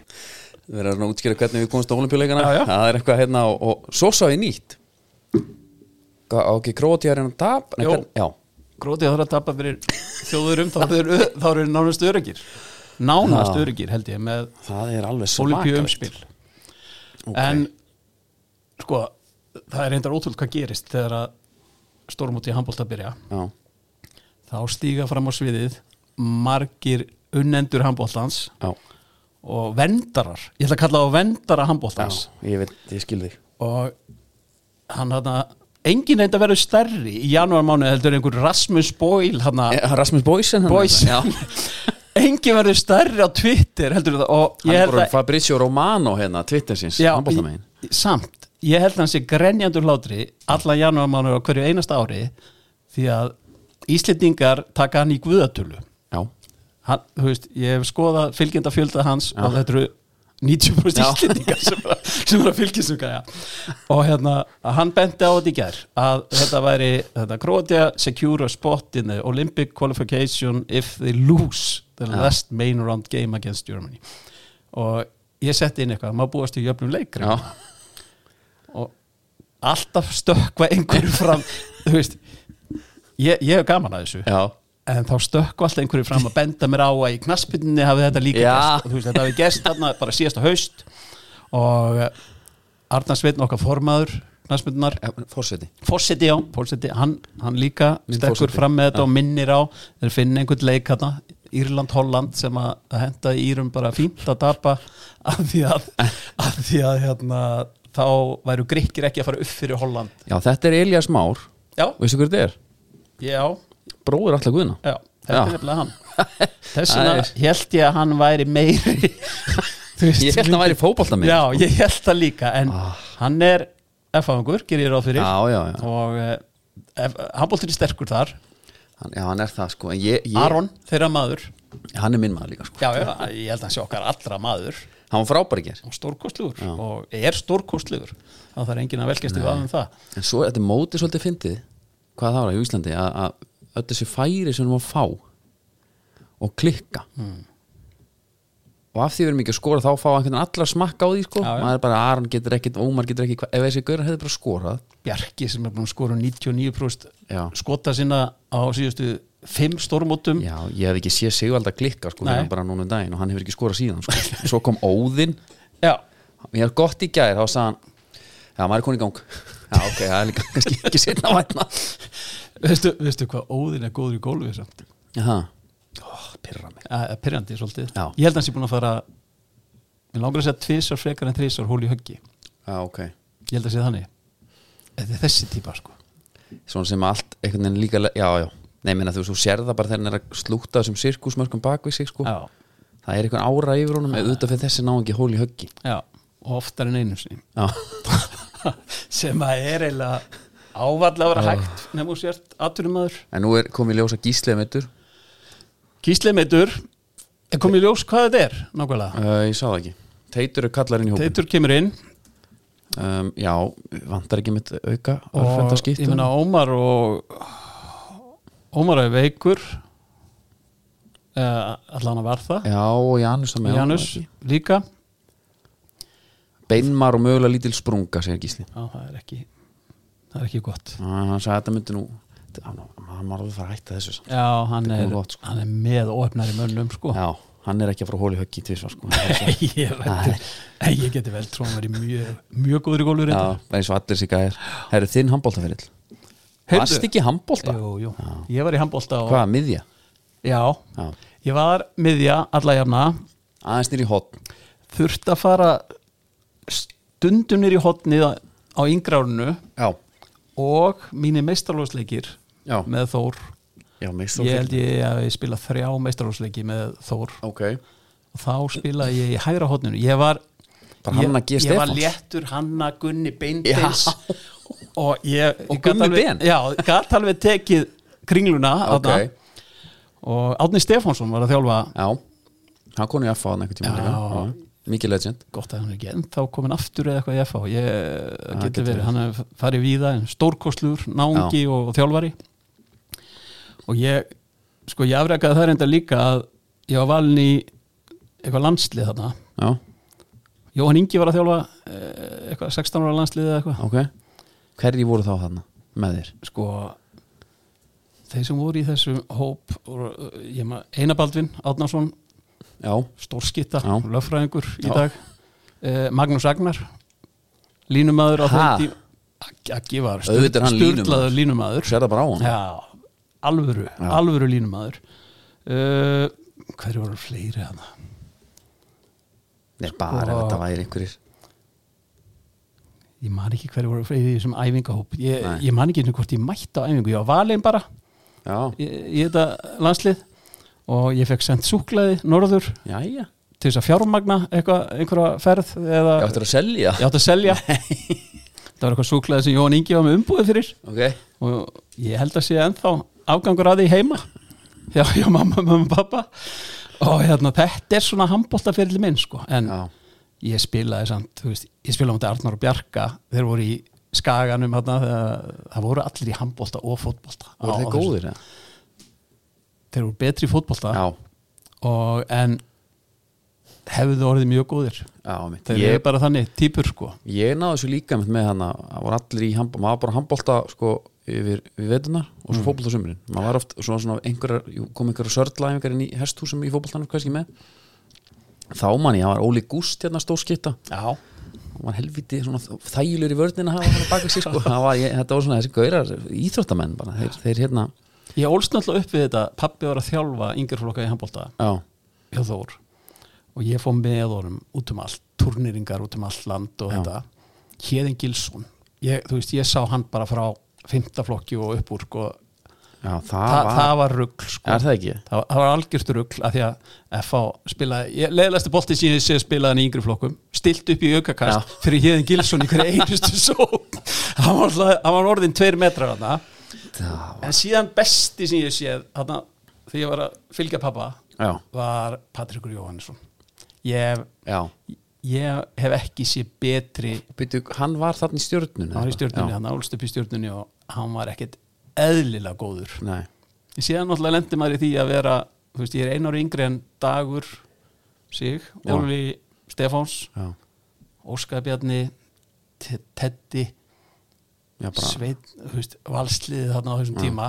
Speaker 1: Við verðum að útskýra hvernig við komumst á olimpíuleikana
Speaker 2: Já, já.
Speaker 1: Það er eitthvað hérna og, og svo sá ég nýtt Gá- Á ekki króti að reyna að tap Nei,
Speaker 2: Jó.
Speaker 1: hvern- Já,
Speaker 2: grótið þarf að tapa fyrir þjóðurum um þá eru þeir- þá eru þeir nánast örugir nánast
Speaker 1: Já.
Speaker 2: örugir held ég með
Speaker 1: það er alveg
Speaker 2: olimpíu
Speaker 1: svakalegt
Speaker 2: umspil en sko það er reyndar ótrúld hvað gerist þegar að stórmóti í handbólta byrja
Speaker 1: Já,
Speaker 2: þá stíga fram á sviðið margir unnendur handbóltans
Speaker 1: já,
Speaker 2: og vendarar ég ætla að kalla á vendara handbóltans
Speaker 1: já Ég veit, ég skil þig
Speaker 2: og hann hann engin reynd að vera stærri í janúarmánu heldur en einhver Rasmus Boyle hann að
Speaker 1: Eh, Rasmus Boysen hann hérna? er
Speaker 2: Boys
Speaker 1: það. Já.
Speaker 2: engin verður stærri á Twitter heldur það og
Speaker 1: Hann
Speaker 2: ég
Speaker 1: er
Speaker 2: held
Speaker 1: bara
Speaker 2: að
Speaker 1: Fabrizio Romano hérna, Twitter síns
Speaker 2: já,
Speaker 1: handboltamegin.
Speaker 2: í- samt, ég held að hann sé grenjandur hlátri allan janúarmánu á hverju einasta ári því að Íslendingar taka hann í guðatölu
Speaker 1: Já,
Speaker 2: hann, þú veist, ég hef skoðað fylgjenda fjölda hans og þetta eru 90%
Speaker 1: Já.
Speaker 2: íslendingar sem er að, sem er að fylgjast um gæja og hérna, að hann benti á þetta í gær að þetta væri, þetta Kroatia secure a spot in the Olympic qualification if they lose the last main round game against Germany og ég setti inn eitthvað maður búast í jöfnum leikri
Speaker 1: já,
Speaker 2: og alltaf stökkva einhverju fram þú veist ég, ég hef gaman að þessu
Speaker 1: já
Speaker 2: en þá stökku alltaf einhverju fram að benda mér á að í knaspinni hafi þetta líka
Speaker 1: Já.
Speaker 2: gerst. Og þú veist, þetta hafi gerst þarna bara síðasta haust og eh, Arnar Sveitn okkar formaður knaspinnar
Speaker 1: Já, Forseti
Speaker 2: Fossetti já, Fossetti, hann, hann líka
Speaker 1: Minn
Speaker 2: stekkur
Speaker 1: forseti.
Speaker 2: fram með þetta og minnir á þeir finna einhvern leik hana Írland-Holland sem að að henda Írum bara fínt að tapa af því að, af því að hérna, þá væru grikkir ekki að fara upp fyrir Holland
Speaker 1: Já, þetta er Elias Már
Speaker 2: Já,
Speaker 1: Veistu hver þetta er?
Speaker 2: já,
Speaker 1: Bróður allar guðna
Speaker 2: Já, þetta
Speaker 1: Já.
Speaker 2: er nefnilega hann Þess vegna
Speaker 1: Æ.
Speaker 2: held ég að hann væri meiri Þú veist,
Speaker 1: Ég held að hann væri fótboltamegin
Speaker 2: Já, ég held það líka En hann er F-fangur, ger ég ráð fyrir
Speaker 1: Ah. Já, já, já.
Speaker 2: Og eh, ef- handboltinn er sterkur þar
Speaker 1: hann, Já, hann er það sko en ég, ég,
Speaker 2: Aron, þeirra maður
Speaker 1: Hann er minn maður líka sko
Speaker 2: Já, já, ég held að hann sé okkar allra maður
Speaker 1: Hann var frábær í ger
Speaker 2: Og stórkostlugur Og er stórkostlugur þá þarf enginn að velkjast í vaðum það
Speaker 1: En svo þetta er mótið svolítið fyndið hvað það var í Íslandi að, að öll þessi færi sem hún var að fá og klikka
Speaker 2: Hmm.
Speaker 1: og af því við erum ekki að skora þá fá einhvern veginn allar smakka á því sko
Speaker 2: Já, já.
Speaker 1: maður er bara Aron getur ekkit, Ómar getur ekkit ef þessi gaurar hefði bara skorað
Speaker 2: Bjarki sem er búin að skora 99%
Speaker 1: Já.
Speaker 2: skota sinna á síðustu fimm stórmótum
Speaker 1: Já, ég hef ekki séð Sigvald að klikka sko
Speaker 2: Hmm. Nei.
Speaker 1: þegar bara núna um daginn og hann hefur ekki skorað síðan sko. svo kom Óðinn
Speaker 2: Já.
Speaker 1: ég er gott í gær, þá sagði hann Já, maður er koni í gang Já, ok, það er líka kannski ekki sinna vætna
Speaker 2: Veistu, veistu hvað óðin er góður í gólfi samt?
Speaker 1: Jaha, oh, Pyrra mig
Speaker 2: Það er pyrrandi Eh, svolítið
Speaker 1: Já.
Speaker 2: Ég held að hans ég búin að fara Mér langar að segja tvisar frekar en þrisar hól í höggi Ég
Speaker 1: Já, ok
Speaker 2: held að segja þannig Þetta er þessi típa sko
Speaker 1: Svona sem allt einhvern veginn líka le- Já, já Nei, minna þú veist, þú sér það bara þegar hann er að slúta þessum sirkusmörkum bak við sig sko
Speaker 2: Já,
Speaker 1: Það er einhvern ára yfir honum eða auðvitað fyrir þessi náingi hól í höggi
Speaker 2: já Og oftar en einu sinni
Speaker 1: Já,
Speaker 2: Sem að er eiginlega ávall að vera hægt Nefnum sért aturumæður
Speaker 1: en nú er komið ljósa gíslið meitur
Speaker 2: Gíslið meitur Er komið í ljós hvað þetta er nákvæmlega
Speaker 1: uh, Ég sá það ekki Teitur er kallarinn í hópin
Speaker 2: Teitur kemur inn
Speaker 1: um, Já, vantar ekki mitt auka
Speaker 2: og
Speaker 1: örfenda skýttu
Speaker 2: ég meina Ómar og Ómar er veikur uh, allan að var það
Speaker 1: Já, og Janus það með
Speaker 2: Janus líka
Speaker 1: Beinmar og mögulega lítil sprunga, segir gíslið
Speaker 2: Já, það er ekki það er ekki gott
Speaker 1: Æ, Hann sagði að þetta myndi nú Hann hann var alveg að fara að hætta þessu samt.
Speaker 2: Já, hann
Speaker 1: Þetta er
Speaker 2: er,
Speaker 1: gott, sko.
Speaker 2: hann er með óöfnar í mönnum sko
Speaker 1: Já, hann er ekki að fara að hóla í höggi í tvisvar sko. Það er svo-
Speaker 2: ég, veit, Nei, ég geti vel trúin verið mjög, mjög góður í gólfur
Speaker 1: Já, eins og allir sig að er Það eru þinn handbóltaferill Varst ekki handbólta?
Speaker 2: Jú, jú, ég var í handbólta og
Speaker 1: Hvað, miðja?
Speaker 2: Já,
Speaker 1: Já,
Speaker 2: ég var miðja alla jafna
Speaker 1: aðeins nýri hotn
Speaker 2: þurft að fara stundunir í hotnið á- á yngra árinu
Speaker 1: Já,
Speaker 2: og mínir meistarlóðsleikir
Speaker 1: Já.
Speaker 2: með Þór
Speaker 1: já, mist
Speaker 2: ég held ég að ég spila þrjá meistarlóðsleiki með Þór
Speaker 1: Ok,
Speaker 2: og þá spilaði ég í hægra hotninu ég var,
Speaker 1: Bara Hanna G.
Speaker 2: ég, ég var
Speaker 1: Stefáns.
Speaker 2: léttur Hanna Gunni Beindins
Speaker 1: Já.
Speaker 2: og ég ég
Speaker 1: Og
Speaker 2: gat
Speaker 1: Gummi
Speaker 2: alveg-
Speaker 1: Ben.
Speaker 2: já, gat alveg tekið kringluna
Speaker 1: ok
Speaker 2: okay. og Átni Stefánsson var að þjálfa
Speaker 1: Já, hann konu í FH hann einhvern tíma
Speaker 2: Já.
Speaker 1: líka Já, Mikið legend
Speaker 2: gott að hann er ekki ennþá komin aftur eða eitthvað í FH ég það
Speaker 1: geti
Speaker 2: getur verið,
Speaker 1: verið.
Speaker 2: hann er farið víða en stórkostlur, náungi og, og þjálfari og ég sko ég afrekaði það reynda líka að ég var valin í eitthvað landslið þarna
Speaker 1: Já,
Speaker 2: Jóhann Ingi var að þjálfa eh, eitthvað 16 ára landslið eða eitthvað
Speaker 1: ok Hverji voru þá þarna með þér?
Speaker 2: sko þeir sem voru í þessum hóp og, ég maður, Einabaldvin Átnarsson
Speaker 1: Já,
Speaker 2: stórskitta,
Speaker 1: Já.
Speaker 2: löffræðingur í
Speaker 1: Já.
Speaker 2: dag eh, Magnús Agnar línumadur á
Speaker 1: Ha?
Speaker 2: þeim tím Ag- Aggi var
Speaker 1: Auðvitað er hann
Speaker 2: styrlaður línumadur
Speaker 1: sér það bara á hann
Speaker 2: Já, alvöru, alvöru línumadur uh, hverju voru fleiri hann
Speaker 1: Nei, bara ef
Speaker 2: Sko.
Speaker 1: þetta væri einhverjir
Speaker 2: ég man ekki hverju voru fleiri í þessum æfingahóp ég,
Speaker 1: Nei.
Speaker 2: ég man ekki einu hvort ég mætti á æfingu ég var valin bara
Speaker 1: Já,
Speaker 2: í, í þetta landslið og ég fekk sendt súklaði norður
Speaker 1: jæja
Speaker 2: til þess að fjármagna eitthvað, einhverja ferð eða
Speaker 1: Ég ættir að selja
Speaker 2: ég átti að selja það var eitthvað súklaði sem Jón Ingi var með umbúið fyrir
Speaker 1: Ok,
Speaker 2: og ég held að sé ennþá afgangur að því heima já, já, mamma, mamma, pappa og hérna, þetta er svona handbóltaferli minn sko, en
Speaker 1: Já.
Speaker 2: ég spilaði samt, þú veist, ég spilaði á mútið Arnar og Bjarka, þeir voru í skaganum hérna, þegar- það voru allir í handbólta og fótbólta Á-
Speaker 1: voru þið
Speaker 2: á þessu-
Speaker 1: góðir? eða?
Speaker 2: þeir voru betri í fótbólta
Speaker 1: Já,
Speaker 2: og en hefðu orðið mjög góðir
Speaker 1: já, mitt
Speaker 2: þeir eru bara þannig típur sko
Speaker 1: Ég náði þessu líka einmitt með hann að það voru allir í handbólta, maður var bara handbólta sko yfir við veitunar og svo mm. fótbolta á sumrin maður var oft svona, svona einhverjar jú, kom einhverjar sörðlæðingar inn í hesthúsum í fótboltanum kannski með þá manni, það var Óli Gúst hérna stórskipta
Speaker 2: já,
Speaker 1: hann var helviti svona þægilegur í vörnina að hafa hann baka sig sko Það var, ég, þetta var svona þessi gaurar íþróttamenn bara þeir, þeir hérna,
Speaker 2: Ég ólst náttúrulega upp við þetta pappi var að þjálfa yngirflokka í handbólta
Speaker 1: já,
Speaker 2: hjá Þór og ég fór með honum út um allt turnýringar út um allt land og
Speaker 1: Já.
Speaker 2: þetta Héðin Gilsson ég, þú veist, ég sá hann bara frá fymta flokki og upp úr sko.
Speaker 1: já það,
Speaker 2: Þa,
Speaker 1: var,
Speaker 2: það var rugl sko.
Speaker 1: er það ekki?
Speaker 2: það, var- það var algjört rugl af því að FH spilaði, leðlasti bolti síðan ég sé spilaðan í yngri flokkum, stilt upp í aukakast
Speaker 1: Já.
Speaker 2: fyrir Héðin Gilsson í hverju einustu só hann var, alltaf- hann var orðin tveir metrar þarna
Speaker 1: Það,
Speaker 2: en síðan besti sem ég séð þarna, þegar ég var að fylgja pappa
Speaker 1: já,
Speaker 2: var Patrikur Jóhannesson ég,
Speaker 1: já
Speaker 2: ég hef ekki séð betri
Speaker 1: Býtu, hann var þarna í stjórnun
Speaker 2: hann var í stjórnunni, hann álst upp í stjórnunni og hann var ekkert eðlilega góður
Speaker 1: Nei,
Speaker 2: síðan náttúrulega lendi maður í því að vera þú veist, ég er einu ári yngri en Dagur sig,
Speaker 1: Já.
Speaker 2: Óli Stefáns
Speaker 1: já,
Speaker 2: Óskar Bjarni Te- Teddi
Speaker 1: já bara
Speaker 2: Sveit, þú veist, valsliðið þarna á þessum tíma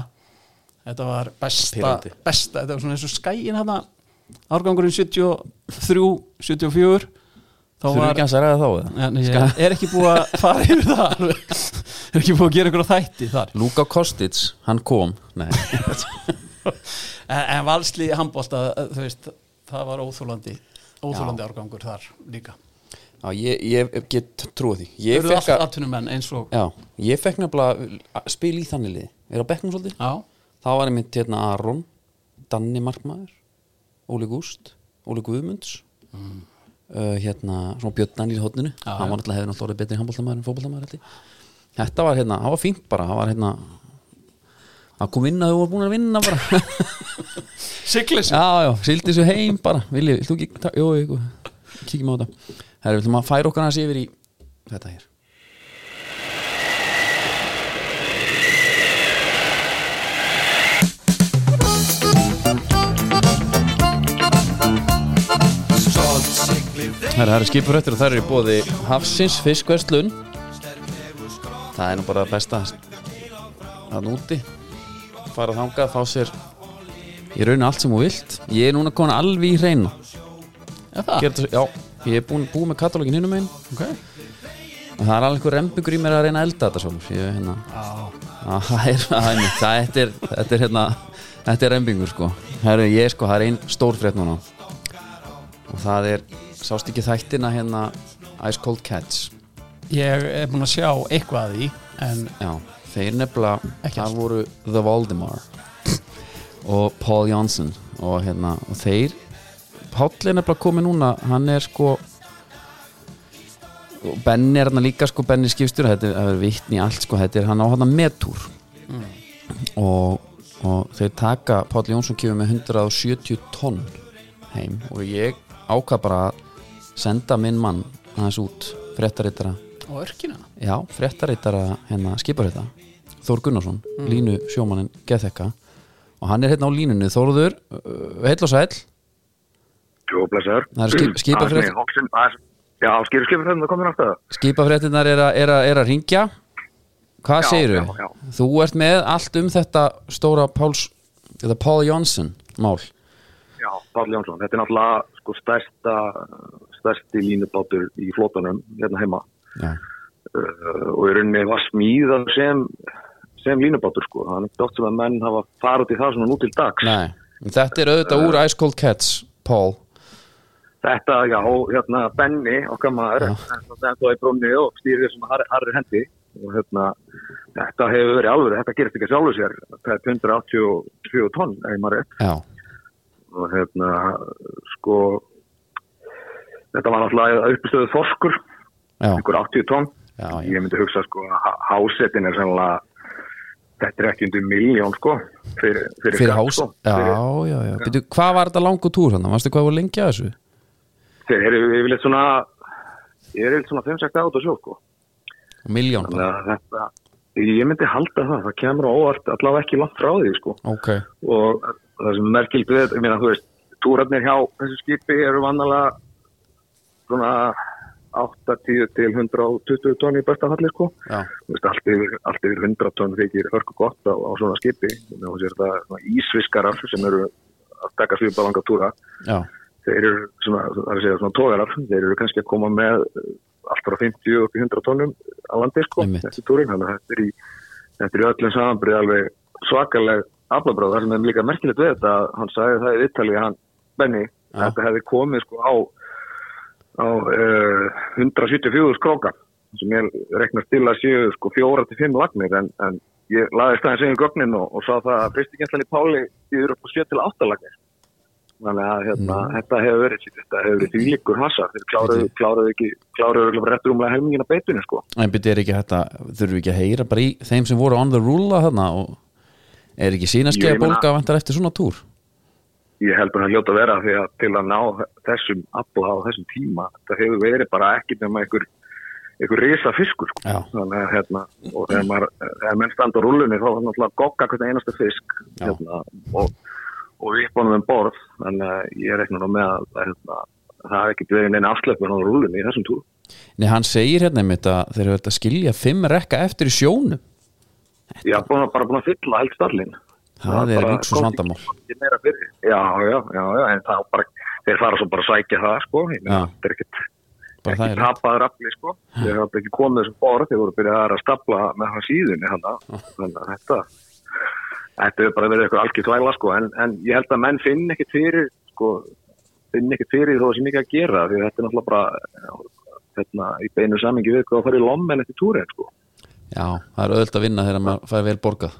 Speaker 2: þetta var besta,
Speaker 1: Pirrandi.
Speaker 2: besta þetta var svona eins og skæin þarna árgangurinn 73, 74 þá
Speaker 1: Þurfum við
Speaker 2: var
Speaker 1: ekki hans að ræða þá eða?
Speaker 2: en, ég er ekki búið að fara yfir það alveg. er ekki búið að gera einhverja þætti þar
Speaker 1: Luka Kostic, hann kom Nei,
Speaker 2: en, en valsli handbólta þú veist, það var óþúlandi óþúlandi árgangur þar líka
Speaker 1: Já, ég, ég get trúið því
Speaker 2: Þau
Speaker 1: Ég
Speaker 2: eru
Speaker 1: fekk,
Speaker 2: allt
Speaker 1: að,
Speaker 2: atvinnumenn eins og
Speaker 1: já, ég fekk nefnilega að spila í þannig liði Er á bekknum svolítið?
Speaker 2: já,
Speaker 1: Það var einmitt hérna Aron Danni Markmaður Óli Gúst, Óli Guðmunds uh, Hérna, svona Björn Danni í hodninu
Speaker 2: Mm. Já,
Speaker 1: Hann
Speaker 2: já.
Speaker 1: var alltaf hefði náttúrulega orðið betri handbóltamaður en fótbóltamaður held ég. Þetta var hérna, það var fínt bara Það var hérna Það kom vinna, þau voru búin að vinna bara
Speaker 2: siglis
Speaker 1: Já, já, sildi þessu heim bara Vilji, vilt þú ekki, ta- jú, jú, kíkjum á þetta Herra, viltum að færa okkar hans yfir í Þetta hér Herra, það eru skipuröttur og það eru í bóði Hafsins fiskverslun Það er nú bara besta að núti fara þangað, fá sér Ég rauna allt sem þú vilt Ég er núna komin alveg í hreina
Speaker 2: já,
Speaker 1: Gerðu- Já, ég er búin, búin með katalógin hinnum einn
Speaker 2: okay.
Speaker 1: og það er alveg einhver rembingur í mér að reyna að elda þetta sjálf Ég er hérna Já, Það er, það er, mitt. það- þetta er, þetta er hérna Þetta er rembingur sko Herru, ég sko, það er ein stór frétt núna og það er sást ekki þættina hérna Ice Cold Cats
Speaker 2: ég er búin að sjá eitthvað að því en
Speaker 1: Já, þeir nefnilega
Speaker 2: Ekki
Speaker 1: það
Speaker 2: allt.
Speaker 1: voru The Voldemar og Paul Johnson og hérna, og þeir Páll er nefnilega komið núna, hann er sko og Benni er hérna líka sko, Benni skipstur þetta er- það er vittni í allt sko, þetta er hann á hann metúr
Speaker 2: Mm.
Speaker 1: og, og þeir taka, Páll Jónsson kemur með 170 tonn heim og ég ákvað bara að senda minn mann aðeins út, frettarittara
Speaker 2: og örkina
Speaker 1: Já, fréttareitara hérna skipar þetta Þór Gunnarsson,
Speaker 4: Mm.
Speaker 1: línu sjómanin Gethekka og hann er hérna á línunni Þórður, uh, heill og sæll
Speaker 4: Jó, blessaður.
Speaker 1: Það eru skip- skipafrétt-
Speaker 4: Aðeins með Hoxin- aðeins- Já, skipur skipur það komin aftur.
Speaker 1: skipafréttinar er, að- er, að- er að ringja Hvað
Speaker 4: Já,
Speaker 1: segirðu?
Speaker 4: já, já.
Speaker 1: Þú ert með allt um þetta stóra Páls, eða Pál Jónsson mál
Speaker 4: Já, Páll Jónsson. Þetta er náttúrulega sko, stærsta, stærsti línubátur í flótunum hérna heima
Speaker 1: Já,
Speaker 4: uh, og í rauninni var smíðað sem, sem línubátur sko. Það er ekki oft sem að menn hafa farið til það svona nú til dags.
Speaker 1: nei Þetta er auðvitað úr Ice Cold Cats, Pál
Speaker 4: Þetta, já, hérna Benni, okkar maður, þetta er í brónni og stýrir þessum harri, harri hendi og hérna, þetta hefur verið alveg, þetta gerist ekki að sjálfu sér, þetta er 187 tonn, ef maður er
Speaker 1: Já,
Speaker 4: og hérna, sko þetta var náttúrulega uppstöðu þorskur,
Speaker 1: já,
Speaker 4: einhver 80 tonn
Speaker 1: já, já.
Speaker 4: ég myndi hugsa, sko, að há- hásetin er sannlega, þetta er ekki undir miljón, sko, fyrir, fyrir,
Speaker 1: Fyrir
Speaker 4: skatt,
Speaker 1: hás
Speaker 4: sko.
Speaker 1: Já,
Speaker 4: Fyrir-
Speaker 1: já, já, Býtu, hvað var þetta langu túr hann? Varstu hvað voru lengi að þessu?
Speaker 4: þeir eru yfirleitt svona ég er yfirleitt svona 5-6 át og sjó, sko
Speaker 1: Miljón bara,
Speaker 4: þannig að þetta ég myndi halda það, það kemur á óvart allavega ekki langt frá því sko
Speaker 1: ok
Speaker 4: og það sem er merkild við þetta, ég meina þú veist túrarnir hjá þessu skipi eru vannalega svona 80 til 120 tónn í besta falli sko
Speaker 1: Já,
Speaker 4: Þú veist, allt, yfir, allt yfir 100 tónn þykir örku gott á, á svona skipi þannig að það er svona ísviskarar sem eru að taka svipa langa túra
Speaker 1: já,
Speaker 4: þeir eru svona, það er að segja svona tógarar þeir eru kannski að koma með eh, allt frá 50 upp í 100 tónum að landi sko,
Speaker 1: Einmitt.
Speaker 4: þessi túrin, þannig að þetta er í þetta er í öllum samanbyrði alveg svakaleg aflabráð, það sem er líka merkilegt við þetta, hann sagði það í Ítali hann, Benny,
Speaker 1: Já.
Speaker 4: þetta hefði komið sko á á uh, 174 skróka sem ég reknar til að séu sko 4-5 lagnir en, en ég laði staðins einu gögnin og, og sá það að fristikenslan í Páli yfir upp á 7-8 lagnir þannig að hérna, þetta hefur verið þetta hefur verið þvílíkur hassa þeir kláruðu, kláruðu ekki, kláruðu örugglega bara rétt rúmlega helmingina beitinu sko
Speaker 1: en byrju er ekki þetta þurfum við ekki að heyra bara í þeim sem voru on the rule þarna og er ekki
Speaker 4: Jú,
Speaker 1: sínaskeiða
Speaker 4: ég meina-
Speaker 1: bólga að vantar eftir svona túr
Speaker 4: ég held bara að hljóta að vera því að til að ná þessum afla á þessum tíma þetta hefur verið bara ekki nema einhver einhver risa fiskur sko
Speaker 1: Já.
Speaker 4: þannig að hérna og þegar maður, þegar menn standa á rúlunni þá er náttúrulega gogga hvernig einasta fisk
Speaker 1: Já.
Speaker 4: hérna, og, og við bónum um borð þannig að ég reikna nú með að hérna, það hef ekki verið neina afslöpun á rúlunni í þessum túr
Speaker 1: Nei, hann segir hérna einmitt að þeir eru að skilja fimm rekka eftir í sjónum
Speaker 4: Ég haf búin að, bara búin að fylla held stallin.
Speaker 1: Það er
Speaker 4: bara-
Speaker 1: luxus vandamál.
Speaker 4: Ekki meira fyrir. Já, já, já, já, en það bara, þeir fara svo bara að sækja það, sko. Ég meina,
Speaker 1: Já.
Speaker 4: Það er ekkit,
Speaker 1: Bara það er
Speaker 4: ekki
Speaker 1: rétt.
Speaker 4: tapaður afli, sko. Þeir hafa ekki komið þessum borð, þeir voru byrjað að stapla með það síðunni hann. Þannig að þetta, þetta hefur bara verið eitthvað algjör þvæla sko, en, en ég held að menn finn ekkert fyrir sko, finn ekkert fyrir þó að sé mikið að gera því að þetta er náttúrulega bara hérna, í beinu samingi við hvað að fara í lommen eftir túrin sko.
Speaker 1: Já, það er öðvöld að vinna þegar maður fær vel borgað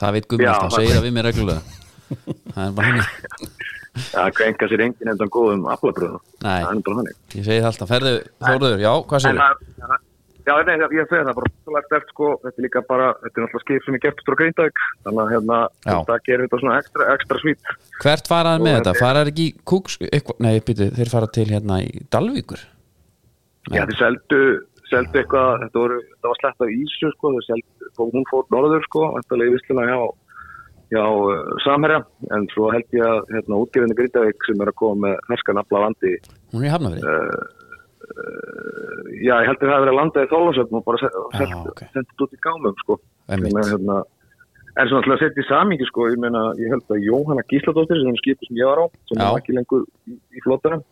Speaker 1: Það veit Gummi
Speaker 4: Já,
Speaker 1: alltaf,
Speaker 4: það-
Speaker 1: segir það við mér reglulega Það er bara hann
Speaker 4: það kvenka sér enginn endan góðum aflabröðum,
Speaker 1: Nei.
Speaker 4: það er bara hannig
Speaker 1: Ég segi það alltaf, ferðu Þóruður, já, hvað
Speaker 4: en
Speaker 1: segir
Speaker 4: það en það- Já, nei, ég ég segi það bara rosalega sterkt sko, þetta er líka bara, þetta er náttúrulega skip sem er gert frá Grindavík, þannig að hérna,
Speaker 1: Já.
Speaker 4: þetta gerir þetta svona ekstra, ekstra svít.
Speaker 1: Hvert faraðar með
Speaker 4: Og
Speaker 1: þetta?
Speaker 4: þetta-
Speaker 1: Faraðar ekki í kúks eitthvað, Nei, býtu, þeir fara til hérna í Dalvíkur
Speaker 4: Já, þeir seldu, seldu eitthvað, þetta, voru, þetta var slett af Ísu, sko, þeir seldu, og hún fór norður, sko, eftirlega í vissluna hjá, hjá uh, Samherja, en svo held ég að hérna, útgefinu Grindavík sem er að koma með herskan afla landi,
Speaker 1: Hún er í Hafnafrið
Speaker 4: já, ég held að það hafi verið að landa í Þólasöfn og bara se- seld,
Speaker 1: ok.
Speaker 4: sendið út í gámum, sko.
Speaker 1: Einmitt.
Speaker 4: Sem er, hérna, en svona til að setja í samingi, sko, ég meina, ég held að Jóhanna Gísladóttir, sem er skipið sem ég var á, sem
Speaker 1: Já.
Speaker 4: er ekki lengur í, í flottanum,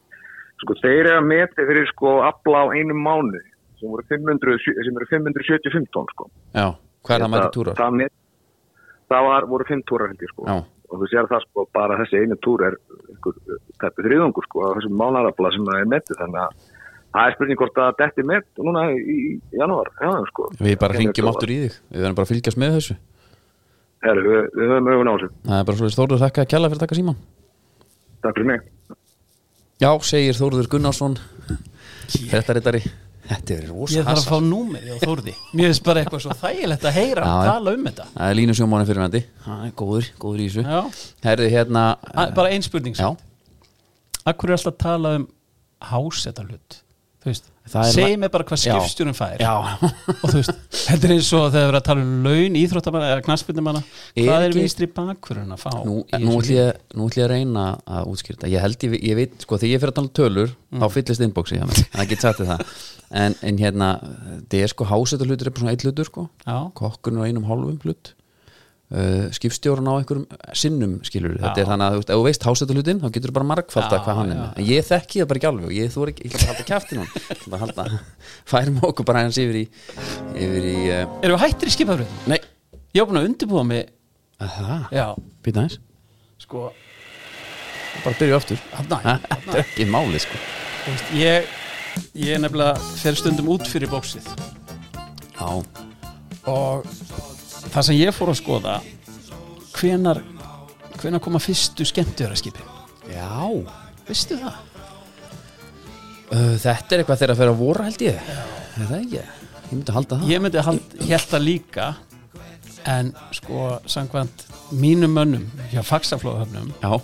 Speaker 4: sko, þeir eru að meti fyrir, sko, afla á einum mánu, sem, voru 500, sem eru 575 tón, sko.
Speaker 1: Já, hvað er það mæti túrar?
Speaker 4: Hérna, Það, met, það var, voru fimm túrar held ég sko
Speaker 1: Já.
Speaker 4: og þú sér það sko bara þessi einu túr er einhver, tæpi þriðungur sko af þessum mánarafla sem það er metið þannig að það er spurning hvort það detti met núna í, í janúar já, sko.
Speaker 1: Við bara
Speaker 4: Kemur
Speaker 1: ringjum
Speaker 4: þetta-
Speaker 1: aftur í þig Við verðum bara að fylgjast með þessu
Speaker 4: Herru, við, við höfum augun á þessu
Speaker 1: Það er bara svolítið Þóruður þakka að kjalla fyrir að taka síman
Speaker 4: Takk fyrir mig
Speaker 1: Já, segir Þóruður Gunnarsson Þetta reytari Þetta er rosa
Speaker 2: Ég þarf
Speaker 1: hassa
Speaker 2: að fá númið á Þórði Mér finnst bara eitthvað svo þægilegt að heyra
Speaker 1: Já,
Speaker 2: að
Speaker 1: já.
Speaker 2: tala um þetta
Speaker 1: Það er línu sjómáni fyrir nætti Það er góður, góður í þessu
Speaker 2: Já.
Speaker 1: Herðu hérna
Speaker 2: Að- Ah, Bara ein spurning
Speaker 1: Já,
Speaker 2: samt. Af hverju er alltaf að tala um háseta hlut Þú veist,
Speaker 1: Það er
Speaker 2: segi
Speaker 1: la-
Speaker 2: mér bara hvað
Speaker 1: Já.
Speaker 2: skipstjórnum fær
Speaker 1: já
Speaker 2: og þú veist, þetta er eins og þegar verið að tala um laun íþróttamanna eða knassbyndumanna
Speaker 1: Er
Speaker 2: hvað er
Speaker 1: ekki-
Speaker 2: vinstri bakurinn að fá
Speaker 1: Nú,
Speaker 2: í
Speaker 1: nú,
Speaker 2: þessu
Speaker 1: ætl ég, nú ætl ég að reyna að útskýra þetta Ég held ég, ég veit, sko, þegar ég fyrir að tala um tölur
Speaker 2: Mm.
Speaker 1: þá fyllist inboxi, já, það get sagt þér það en, en hérna, þetta er sko hásetta hlutur er bara svona eitt hlutur, sko
Speaker 2: Já.
Speaker 1: kokkurinn á einum hálfum hlut uh, skipstjórun á einhverjum sinnum skilur, þetta er þannig að, þú veist, ef þú veist hásetta hlutin þá getur þú bara margfald
Speaker 2: Já,
Speaker 1: hvað hann er með en ég þekki það bara ekki alveg og ég þú er ekki, ég ætla bara að halda kjaftin hann Ég ætla bara að halda, færum okkur bara hans yfir í yfir í, uh,
Speaker 2: Erum við hættir í skipafröðum?
Speaker 1: nei,
Speaker 2: Ég var búin að undirbúa mig
Speaker 1: það,
Speaker 2: Já,
Speaker 1: býta eins
Speaker 2: sko
Speaker 1: bara byrju aftur
Speaker 2: Þarna,
Speaker 1: Ha, þetta er ekki máli sko
Speaker 2: þú veist, ég, ég nefnilega fer stundum út fyrir bóksið
Speaker 1: Já,
Speaker 2: og það sem ég fór að skoða hvenar, hvenar koma fyrstu skemmtjöraskipin
Speaker 1: já.
Speaker 2: Veistu það?
Speaker 1: Uh, Þetta er eitthvað þegar að fyrir að voru held ég Er það ekki? Ég myndi að halda það
Speaker 2: Ég myndi hald, held að líka en sko samkvæmt mínum mönnum hjá Faxaflóðhöfnum
Speaker 1: Já,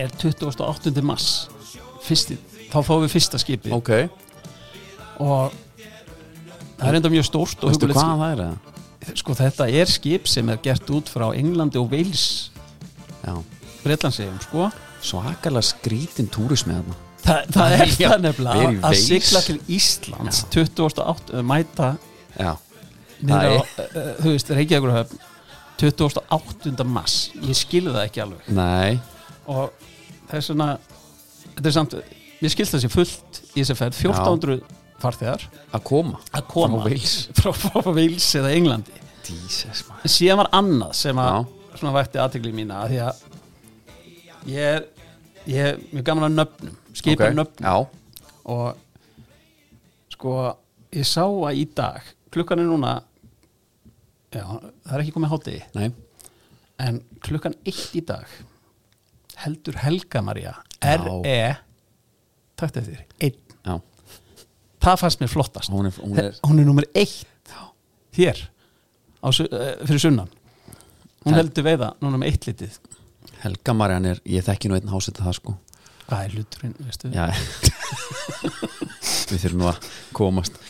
Speaker 2: er 28. mass fyrsti, þá fáum við fyrsta skipið
Speaker 1: ok
Speaker 2: og það er enda mjög stórt og
Speaker 1: Veistu
Speaker 2: hugulegt
Speaker 1: hvað það er það?
Speaker 2: skip sko þetta er skip sem er gert út frá Englandi og Wales
Speaker 1: Já,
Speaker 2: Breitlandsegum sko
Speaker 1: svakalega skrítin túrismi þarna
Speaker 2: Þa, það er
Speaker 1: Já,
Speaker 2: það
Speaker 1: við erum í
Speaker 2: nefnilega að
Speaker 1: Wales.
Speaker 2: sigla til Íslands 28. mæta
Speaker 1: Já,
Speaker 2: niður á,
Speaker 1: er-
Speaker 2: uh, þú veist, Reykjavíkurhöfn 28. mass ég skilði það ekki alveg
Speaker 1: nei
Speaker 2: og það er svona þetta er samt, mér skilst það sér fullt í þessi ferð, 1400 farþegar
Speaker 1: Að koma
Speaker 2: að koma
Speaker 1: Frá Wales.
Speaker 2: frá, frá, frá Wales eða Englandi
Speaker 1: Jesus man
Speaker 2: en síðan var annað sem að
Speaker 1: Já.
Speaker 2: svona vætti aðtegli mína af því að ég er ég er mjög gaman að nöfnum skipa nöfnum
Speaker 1: Já,
Speaker 2: og sko ég sá að í dag klukkan er núna já, það er ekki komið hátegi
Speaker 1: nei
Speaker 2: en klukkan eitt í dag heldur Helga Maria R.E. takt eftir, einn
Speaker 1: Já,
Speaker 2: það fannst mér flottast
Speaker 1: Hún er- hún er-
Speaker 2: hún er nummer eitt hér á, su- eh, fyrir sunnan hún
Speaker 1: Það-
Speaker 2: heldur veiða núna með eitt litið
Speaker 1: Helga Marjan er, ég þekki nú einn hásetta það sko
Speaker 2: hvað er hluturinn, veistu
Speaker 1: Já Við þurfum nú að komast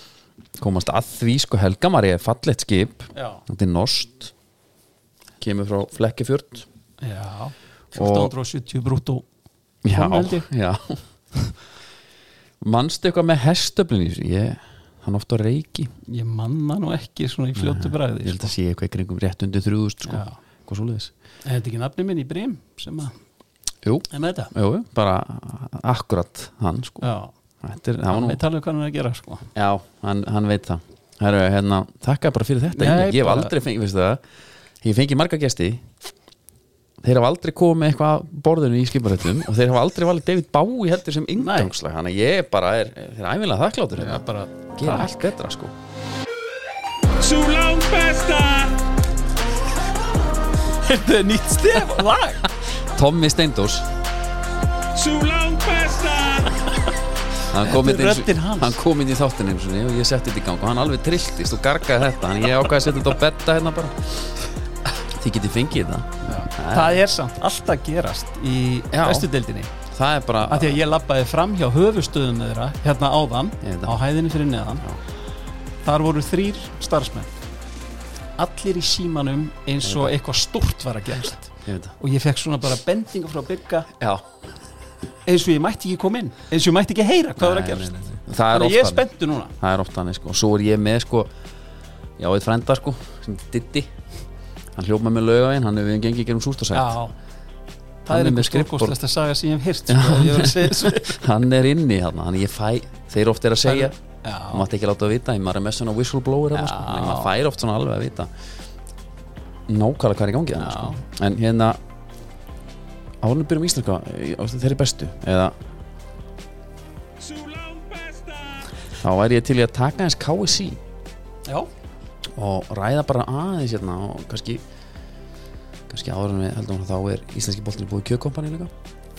Speaker 1: komast að því sko Helga Marja er fallegt skip
Speaker 2: já,
Speaker 1: Þetta er Nost Kemur frá Flekkefjörn
Speaker 2: já.
Speaker 1: Og-
Speaker 2: 1470 brúttó
Speaker 1: Já,
Speaker 2: Kom, held ég.
Speaker 1: já Manstu eitthvað með hestöflin í þessu? Ég, hann ofta reiki
Speaker 2: ég manna nú ekki svona í fljótu
Speaker 1: Ég
Speaker 2: bræði
Speaker 1: held að sé eitthvað í kringum rétt undir þrjúðust sko.
Speaker 2: Já.
Speaker 1: Hvað svo leiðis?
Speaker 2: er þetta ekki nafni minn í Brím sem að,
Speaker 1: Jú,
Speaker 2: er með þetta
Speaker 1: jú, bara akkurat hann sko.
Speaker 2: já,
Speaker 1: Þetta er, það var
Speaker 2: hann
Speaker 1: nú
Speaker 2: veit alveg hvað hann er að gera sko
Speaker 1: Já, hann, hann veit það Herru, hérna, þakka bara fyrir þetta
Speaker 2: Nei,
Speaker 1: Nei, Ég hef
Speaker 2: bara-
Speaker 1: aldrei fengið, veistu það ég fengi marga gesti þeir hafa aldrei komið með eitthvað að borðinu í skiparættum og þeir hafa aldrei valið David Bowie heldur sem yngdangslag þannig að ég bara er, þeir er æfinlega þakkláttur
Speaker 2: Já, bara
Speaker 1: gera allt betra sko
Speaker 5: Sú langt besta
Speaker 2: Þetta er nýtt stef lag
Speaker 1: Tommy Steindors,
Speaker 5: Sú langt besta
Speaker 1: hann kom
Speaker 2: Þetta er
Speaker 1: inn eins-
Speaker 2: röddin hans.
Speaker 1: hann kom inn í þáttin eins og ég setti þetta í gang og hann alveg trilltist og gargaði þetta þannig að ég ákvaði að setja þetta á betta hérna bara þið getið fengið þetta
Speaker 2: Það er samt alltaf gerast í
Speaker 1: Já.
Speaker 2: vestudeldinni
Speaker 1: það er bara
Speaker 2: að því að ég labbaði fram hjá höfustöðum þeirra hérna áðan,
Speaker 1: Ég veit
Speaker 2: á
Speaker 1: það.
Speaker 2: hæðinni fyrir neðan þar voru þrýr starfsmenn allir í símanum eins og eitthvað stórt var að gerast
Speaker 1: ég veit það
Speaker 2: og ég fekk svona bara bendinga frá bygga
Speaker 1: Já,
Speaker 2: eins og ég mætti ekki koma inn eins og ég mætti ekki heyra hvað var að
Speaker 1: Nei,
Speaker 2: gerast
Speaker 1: nei, nei, nei. Það
Speaker 2: þannig
Speaker 1: er
Speaker 2: að
Speaker 1: oft
Speaker 2: ég er
Speaker 1: þannig.
Speaker 2: spenntu núna
Speaker 1: það er oft þannig sko og svo er ég með sko já, eitt frenda sko, sem Diddi hann hljópa með laugavegin, hann hefur gengið gerum sústasætt
Speaker 2: Já, það er
Speaker 1: Hann er með
Speaker 2: einhver
Speaker 1: skrifborð.
Speaker 2: skrifbóstlæsta saga sem ég hef hýrt sko, ég var að segja þessu
Speaker 1: hann er inni hann, hann ég fæ, þeir oft er að segja hann
Speaker 2: Já,
Speaker 1: mátti ekki láta að vita, ég maður er með svona whistleblower hann, sko.
Speaker 2: Já.
Speaker 1: Þannig að maður fær oft svona alveg að vita nákvæmlega hvað er í gangi þannig sko. en hérna árunum byrjum íslenska, eh, þeir eru bestu eða
Speaker 5: Sú langt besta
Speaker 1: þá væri ég til í að taka eins KSC
Speaker 2: já,
Speaker 1: og ræða bara aðeins hérna og kannski kannski áður en við heldum að þá er íslenski boltin búið kjökompani líka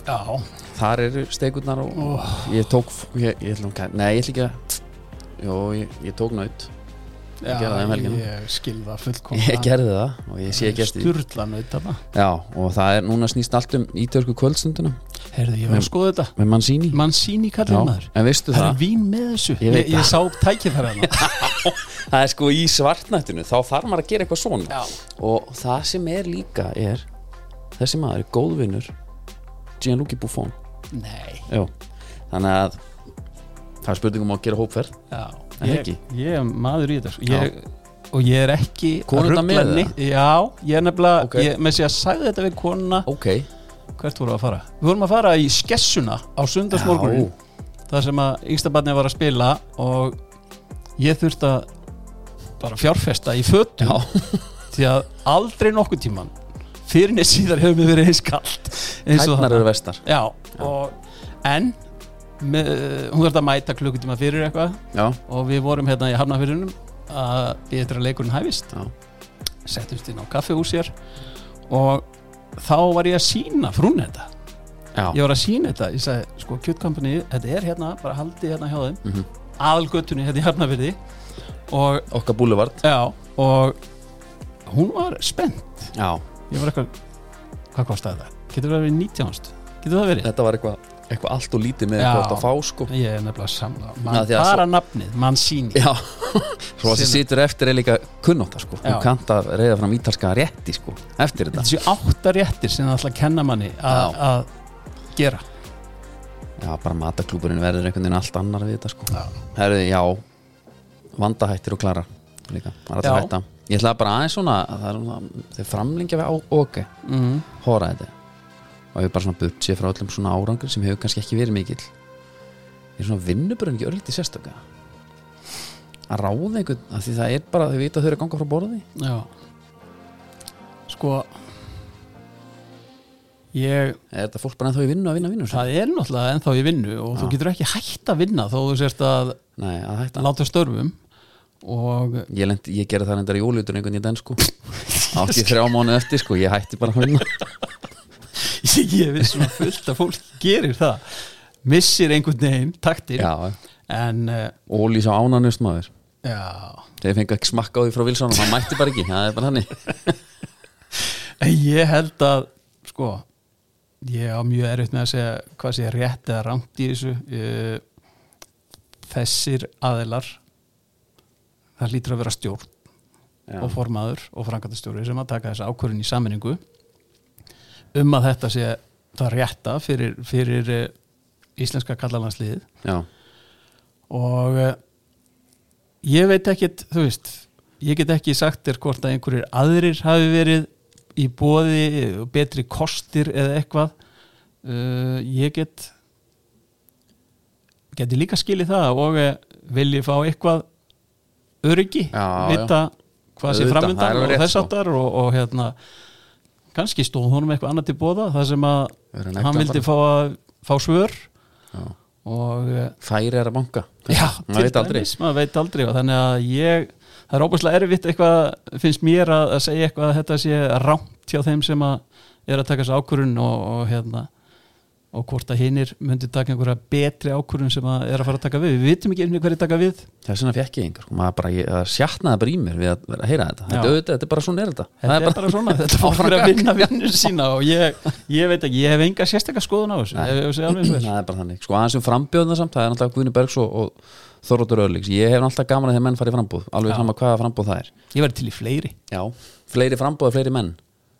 Speaker 2: já
Speaker 1: þar eru stekurnar og og ég tók f- ég, ég ætlum, nei ég ætla ekki að jó ég, ég tók naut
Speaker 2: Já,
Speaker 1: gerði það um helgina.
Speaker 2: ég skilða fullkomna
Speaker 1: ég gerði það og ég sé ekki eftir því.
Speaker 2: Sturla nautana
Speaker 1: já og það er núna snýst allt um ítörku kvöldstunduna
Speaker 2: Herðu, ég var að skoða þetta
Speaker 1: með Mancini
Speaker 2: Mansíni
Speaker 1: já
Speaker 2: kallir maður
Speaker 1: en veistu
Speaker 2: Það er
Speaker 1: það
Speaker 2: vín með þessu
Speaker 1: Ég veit
Speaker 2: Ég, ég
Speaker 1: það.
Speaker 2: sá tækifæra
Speaker 1: það er sko í svartnættinu þá þarf maður að gera eitthvað svona
Speaker 2: Já.
Speaker 1: og það sem er líka er þessi maður er góðvinur Gianluigi Buffon
Speaker 2: Nei
Speaker 1: Jó, þannig að það er spurningum að gera hópferð
Speaker 2: já,
Speaker 1: En
Speaker 2: ég,
Speaker 1: ekki?
Speaker 2: ég er maður í þetta sko. ég, Og ég er ekki að
Speaker 1: Konurnar
Speaker 2: rugla
Speaker 1: með
Speaker 2: neitt- Já, ég er nefnilega
Speaker 1: Ok.
Speaker 2: ég, Með sér að sagði þetta við konuna
Speaker 1: Ok,
Speaker 2: Hvert vorum við að fara? Við vorum að fara í skessuna á sundarsmorgunin Það sem að yngstabarnið var að spila Og ég þurfti að bara fjárfesta í fötum því að aldrei nokkuð tíman fyrir neð síðar hefur mér verið eins kalt eins og
Speaker 1: tætnar
Speaker 2: þarna.
Speaker 1: eru vestar
Speaker 2: já, og, en með, hún þarf að mæta klukkutíma fyrir eitthvað
Speaker 1: Já,
Speaker 2: og við vorum hérna í Hafnafyrunum að við eftir að leikurinn hæfist
Speaker 1: Já.
Speaker 2: settumst inn á kaffehús hér og þá var ég að sína frún þetta
Speaker 1: já,
Speaker 2: ég var að sína þetta, ég sagði sko kjötkampanið, þetta er hérna, bara haldið hérna hjá þeim mm
Speaker 1: Mhm.
Speaker 2: aðalgötunni hérna í Hafnafyrði og,
Speaker 1: okkar búluvart
Speaker 2: já, og hún var spennt
Speaker 1: Já,
Speaker 2: ég var eitthvað hvað kostaði það? getur það verið 19 ást? getur það verið?
Speaker 1: þetta var eitthvað eitthva allt og lítið með
Speaker 2: Já.
Speaker 1: eitthvað að fá sko
Speaker 2: ég er nefnilega samla
Speaker 1: Já,
Speaker 2: Man,
Speaker 1: því að
Speaker 2: bara nafnið, mann síni
Speaker 1: Já, svo
Speaker 2: Sinna.
Speaker 1: að sem situr eftir er líka kunnáta sko
Speaker 2: Já.
Speaker 1: Hún kannt að reyða fram ítalska rétti sko Eftir þetta
Speaker 2: þessi áttaréttir sem það ætla að kenna manni að
Speaker 1: Já.
Speaker 2: að gera
Speaker 1: Já, bara mataklúburinn verður einhvern veginn allt annar við þetta sko Herðu, já, vandahættir og klara líka, það er alltaf
Speaker 2: Já.
Speaker 1: hætta Ég ætlaði bara aðeins svona, að það er svona þeir framlengja við á OK Mhm.
Speaker 2: mm.
Speaker 1: hóra þetta og ég bara svona burt sér frá öllum svona árangur sem hefur kannski ekki verið mikill er svona vinnubröðin ekki örlítið sérstaka að ráða einhvern að því það er bara, þau vita að þau eru að ganga frá borði
Speaker 2: já sko ég,
Speaker 1: er þetta fólk bara ennþá í vinnu að vinna vinnu
Speaker 2: það er náttúrulega ennþá ég vinnu og þú getur ekki hætt að vinna þó þú sérst að
Speaker 1: Nei, að hætta
Speaker 2: láta störfum og
Speaker 1: Ég, lent, ég gerði það reyndar í ólutur einhvern í den sko átti þrjá mánu eftir sko, ég hætti bara að vinna
Speaker 2: ég veist svona fullt að fólk gerir það missir einhvern veginn taktir
Speaker 1: Já,
Speaker 2: en uh,
Speaker 1: ólís á ánanust maður
Speaker 2: já
Speaker 1: þegar ég fengi ekki smakka á því frá Vilsson og hann mætti bara ekki, það er bara hannig
Speaker 2: En ég held að sko ég á mjög erfitt með að segja hvað sé rétt eða rangt í þessu Eh, þessir aðilar það lítur að vera stjórn og formaður og frangatastjóri sem að taka þessa ákvörðin í sammenningu um að þetta sé það rétta fyrir, fyrir eh, íslenska kallalansliðið
Speaker 1: Já,
Speaker 2: og eh, ég veit ekkit þú veist, ég get ekki sagt þér hvort að einhverjir aðrir hafi verið í bóði og betri kostir eða eitthvað uh, ég get geti líka skilið það og eh, vilji fá eitthvað öryggi
Speaker 1: Já,
Speaker 2: vita hvað
Speaker 6: Auðvitað, það
Speaker 2: sé
Speaker 6: er
Speaker 2: framundan
Speaker 6: alveg
Speaker 2: og
Speaker 6: rétt,
Speaker 2: þess
Speaker 6: sko.
Speaker 2: áttar og, og hérna kannski stóð honum eitthvað annað til bóða það sem að
Speaker 1: Verður hann
Speaker 2: hann
Speaker 1: ekta
Speaker 2: vildi
Speaker 1: bara?
Speaker 2: fá, að, fá svör
Speaker 1: Já.
Speaker 2: og eh,
Speaker 1: Færi er að banka
Speaker 2: já,
Speaker 1: Maður veit aldrei.
Speaker 2: maður veit aldrei og þannig að ég, það er óbúslega erfitt eitthvað finnst mér að, að segja eitthvað að þetta sé rámt hjá þeim sem að er að taka þessu ákvörun og, og hérna og hvort að hinnir myndi taka einhverja betri ákvörun sem að er að fara að taka við við vitum ekki einhverju hverju taka við
Speaker 1: Þess vegna fekk ég einhver sko, maður bara, ég, það sjatnaði bara í mér við að vera að heyra þetta
Speaker 2: Já.
Speaker 1: Þetta, auðvitað, þetta er bara svona er þetta
Speaker 2: Þetta er bara, svona, þetta fólk er að vinna vinnur sína og ég, ég veit ekki, ég hef enga sérstakka skoðun á þessu,
Speaker 1: Nei.
Speaker 2: ef ég sé alveg eins og er.
Speaker 1: Það er bara þannig, sko aðeins um frambjóðna samt það er náttúrulega Guðni Bergs og, og Þorvaldur Örlíks ég hef náttúrulega gaman að þegar menn fari í frambúð alveg sama hvaða frambúð það er
Speaker 2: Ég verði til í fleiri,
Speaker 1: Já, fleiri frambúð, fleiri menn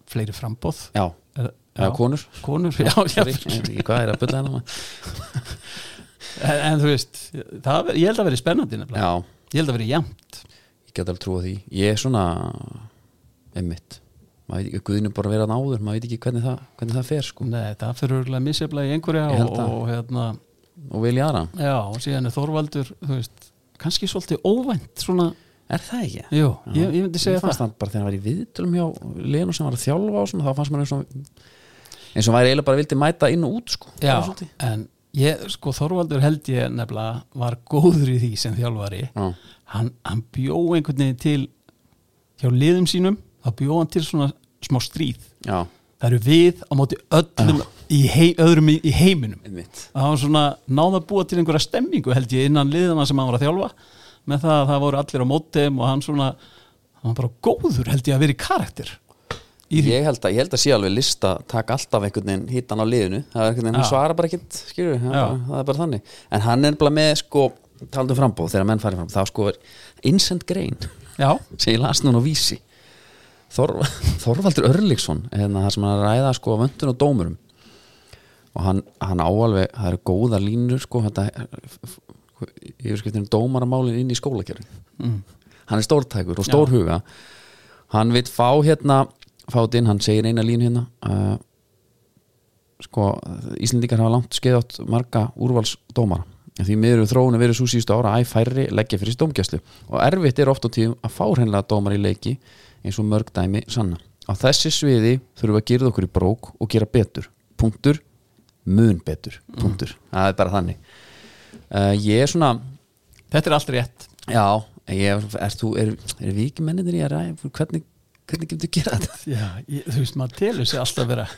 Speaker 2: fleiri frambóð.
Speaker 1: Já,
Speaker 2: Er-
Speaker 1: eða konur
Speaker 2: Konur, já, já.
Speaker 1: Sorry, ég veit ekki hvað er að bulla hérna maður.
Speaker 2: En, en þú veist, það, ver- ég held að verði spennandi nefnilega.
Speaker 1: Já,
Speaker 2: Ég held að verði jæmt.
Speaker 1: ég get alveg trúa því Ég er svona einmitt, maður veit ekki, Guðni er bara að vera náður maður veit ekki hvernig það, hvernig það fer sko
Speaker 2: Nei, það fyrir örgulega misjaflega í einhverja
Speaker 1: Ég held
Speaker 2: og,
Speaker 1: það.
Speaker 2: og hérna,
Speaker 1: og vilja aðra,
Speaker 2: já, og síðan er Þorvaldur, þú veist, kannski svolítið óvænt svona,
Speaker 1: er það ekki?
Speaker 2: jú, ég, ég myndi segja
Speaker 1: Mér fannst
Speaker 2: það.
Speaker 1: það bara þegar hann var í viðtölum hjá Lenu sem var að þjálfa á svona, þá fannst maður eins og eins og væri eiginlega bara vildi mæta inn og út sko.
Speaker 2: Já,
Speaker 1: Það var svolítið.
Speaker 2: en ég, sko, Þorvaldur held ég nefnilega var góður í því sem þjálfari.
Speaker 1: Já.
Speaker 2: hann, hann bjó einhvern veginn til hjá liðum sínum þá bjó hann til svona smá stríð
Speaker 1: Já,
Speaker 2: það eru við á móti öllum í hei, öðrum í, í heiminum
Speaker 1: einmitt
Speaker 2: það var svona náða að búa til einhverja stemmingu held ég innan liðana sem hann var að þjálfa með það að það voru allir á mótiðum og hann svona hann var bara góður held ég að vera í karakter í því
Speaker 1: ég held, að, ég held að sé alveg lista taka alltaf einhvern veginn hittan á liðinu það er einhvern veginn, hann
Speaker 2: Já.
Speaker 1: svarar bara ekkert skilur, það,
Speaker 2: Já.
Speaker 1: bara- það er bara þannig en hann er bara með sko, taldum frambóð þegar menn farið fram, það sko er insend grein
Speaker 2: já,
Speaker 1: sem ég las núna á vísi Þor, Þorvaldur Örlíksson hérna það sem hann er að ræða sko vöndun og dómurum og hann, hann áalveg það eru góða línur sko þetta, yfirskiptinu dómaramálin inn í skólakerfi hann er stórtækur og stórhuga hann vil fá hérna fát inn, hann segir eina línu hérna uh, sko Íslendingar hafa langt skeið átt marga úrvalsdómara en því miður hefur þróun að verið svo síðustu ára æ færri leggja fyrir stómgæslu og erfitt er oft á tíðum að fá hreinlega dómar í leiki eins og mörg dæmi sanna á þessi sviði þurfum við að gera okkur í brók og gera betur, punktur mun betur, punktur það er bara þannig uh, ég er svona,
Speaker 2: þetta er allt rétt
Speaker 1: já ég, er þú, er, er við ekki mennir í að ræða hvernig, hvernig getur gera þetta
Speaker 2: já, ég, þú veist maður telur sig alltaf vera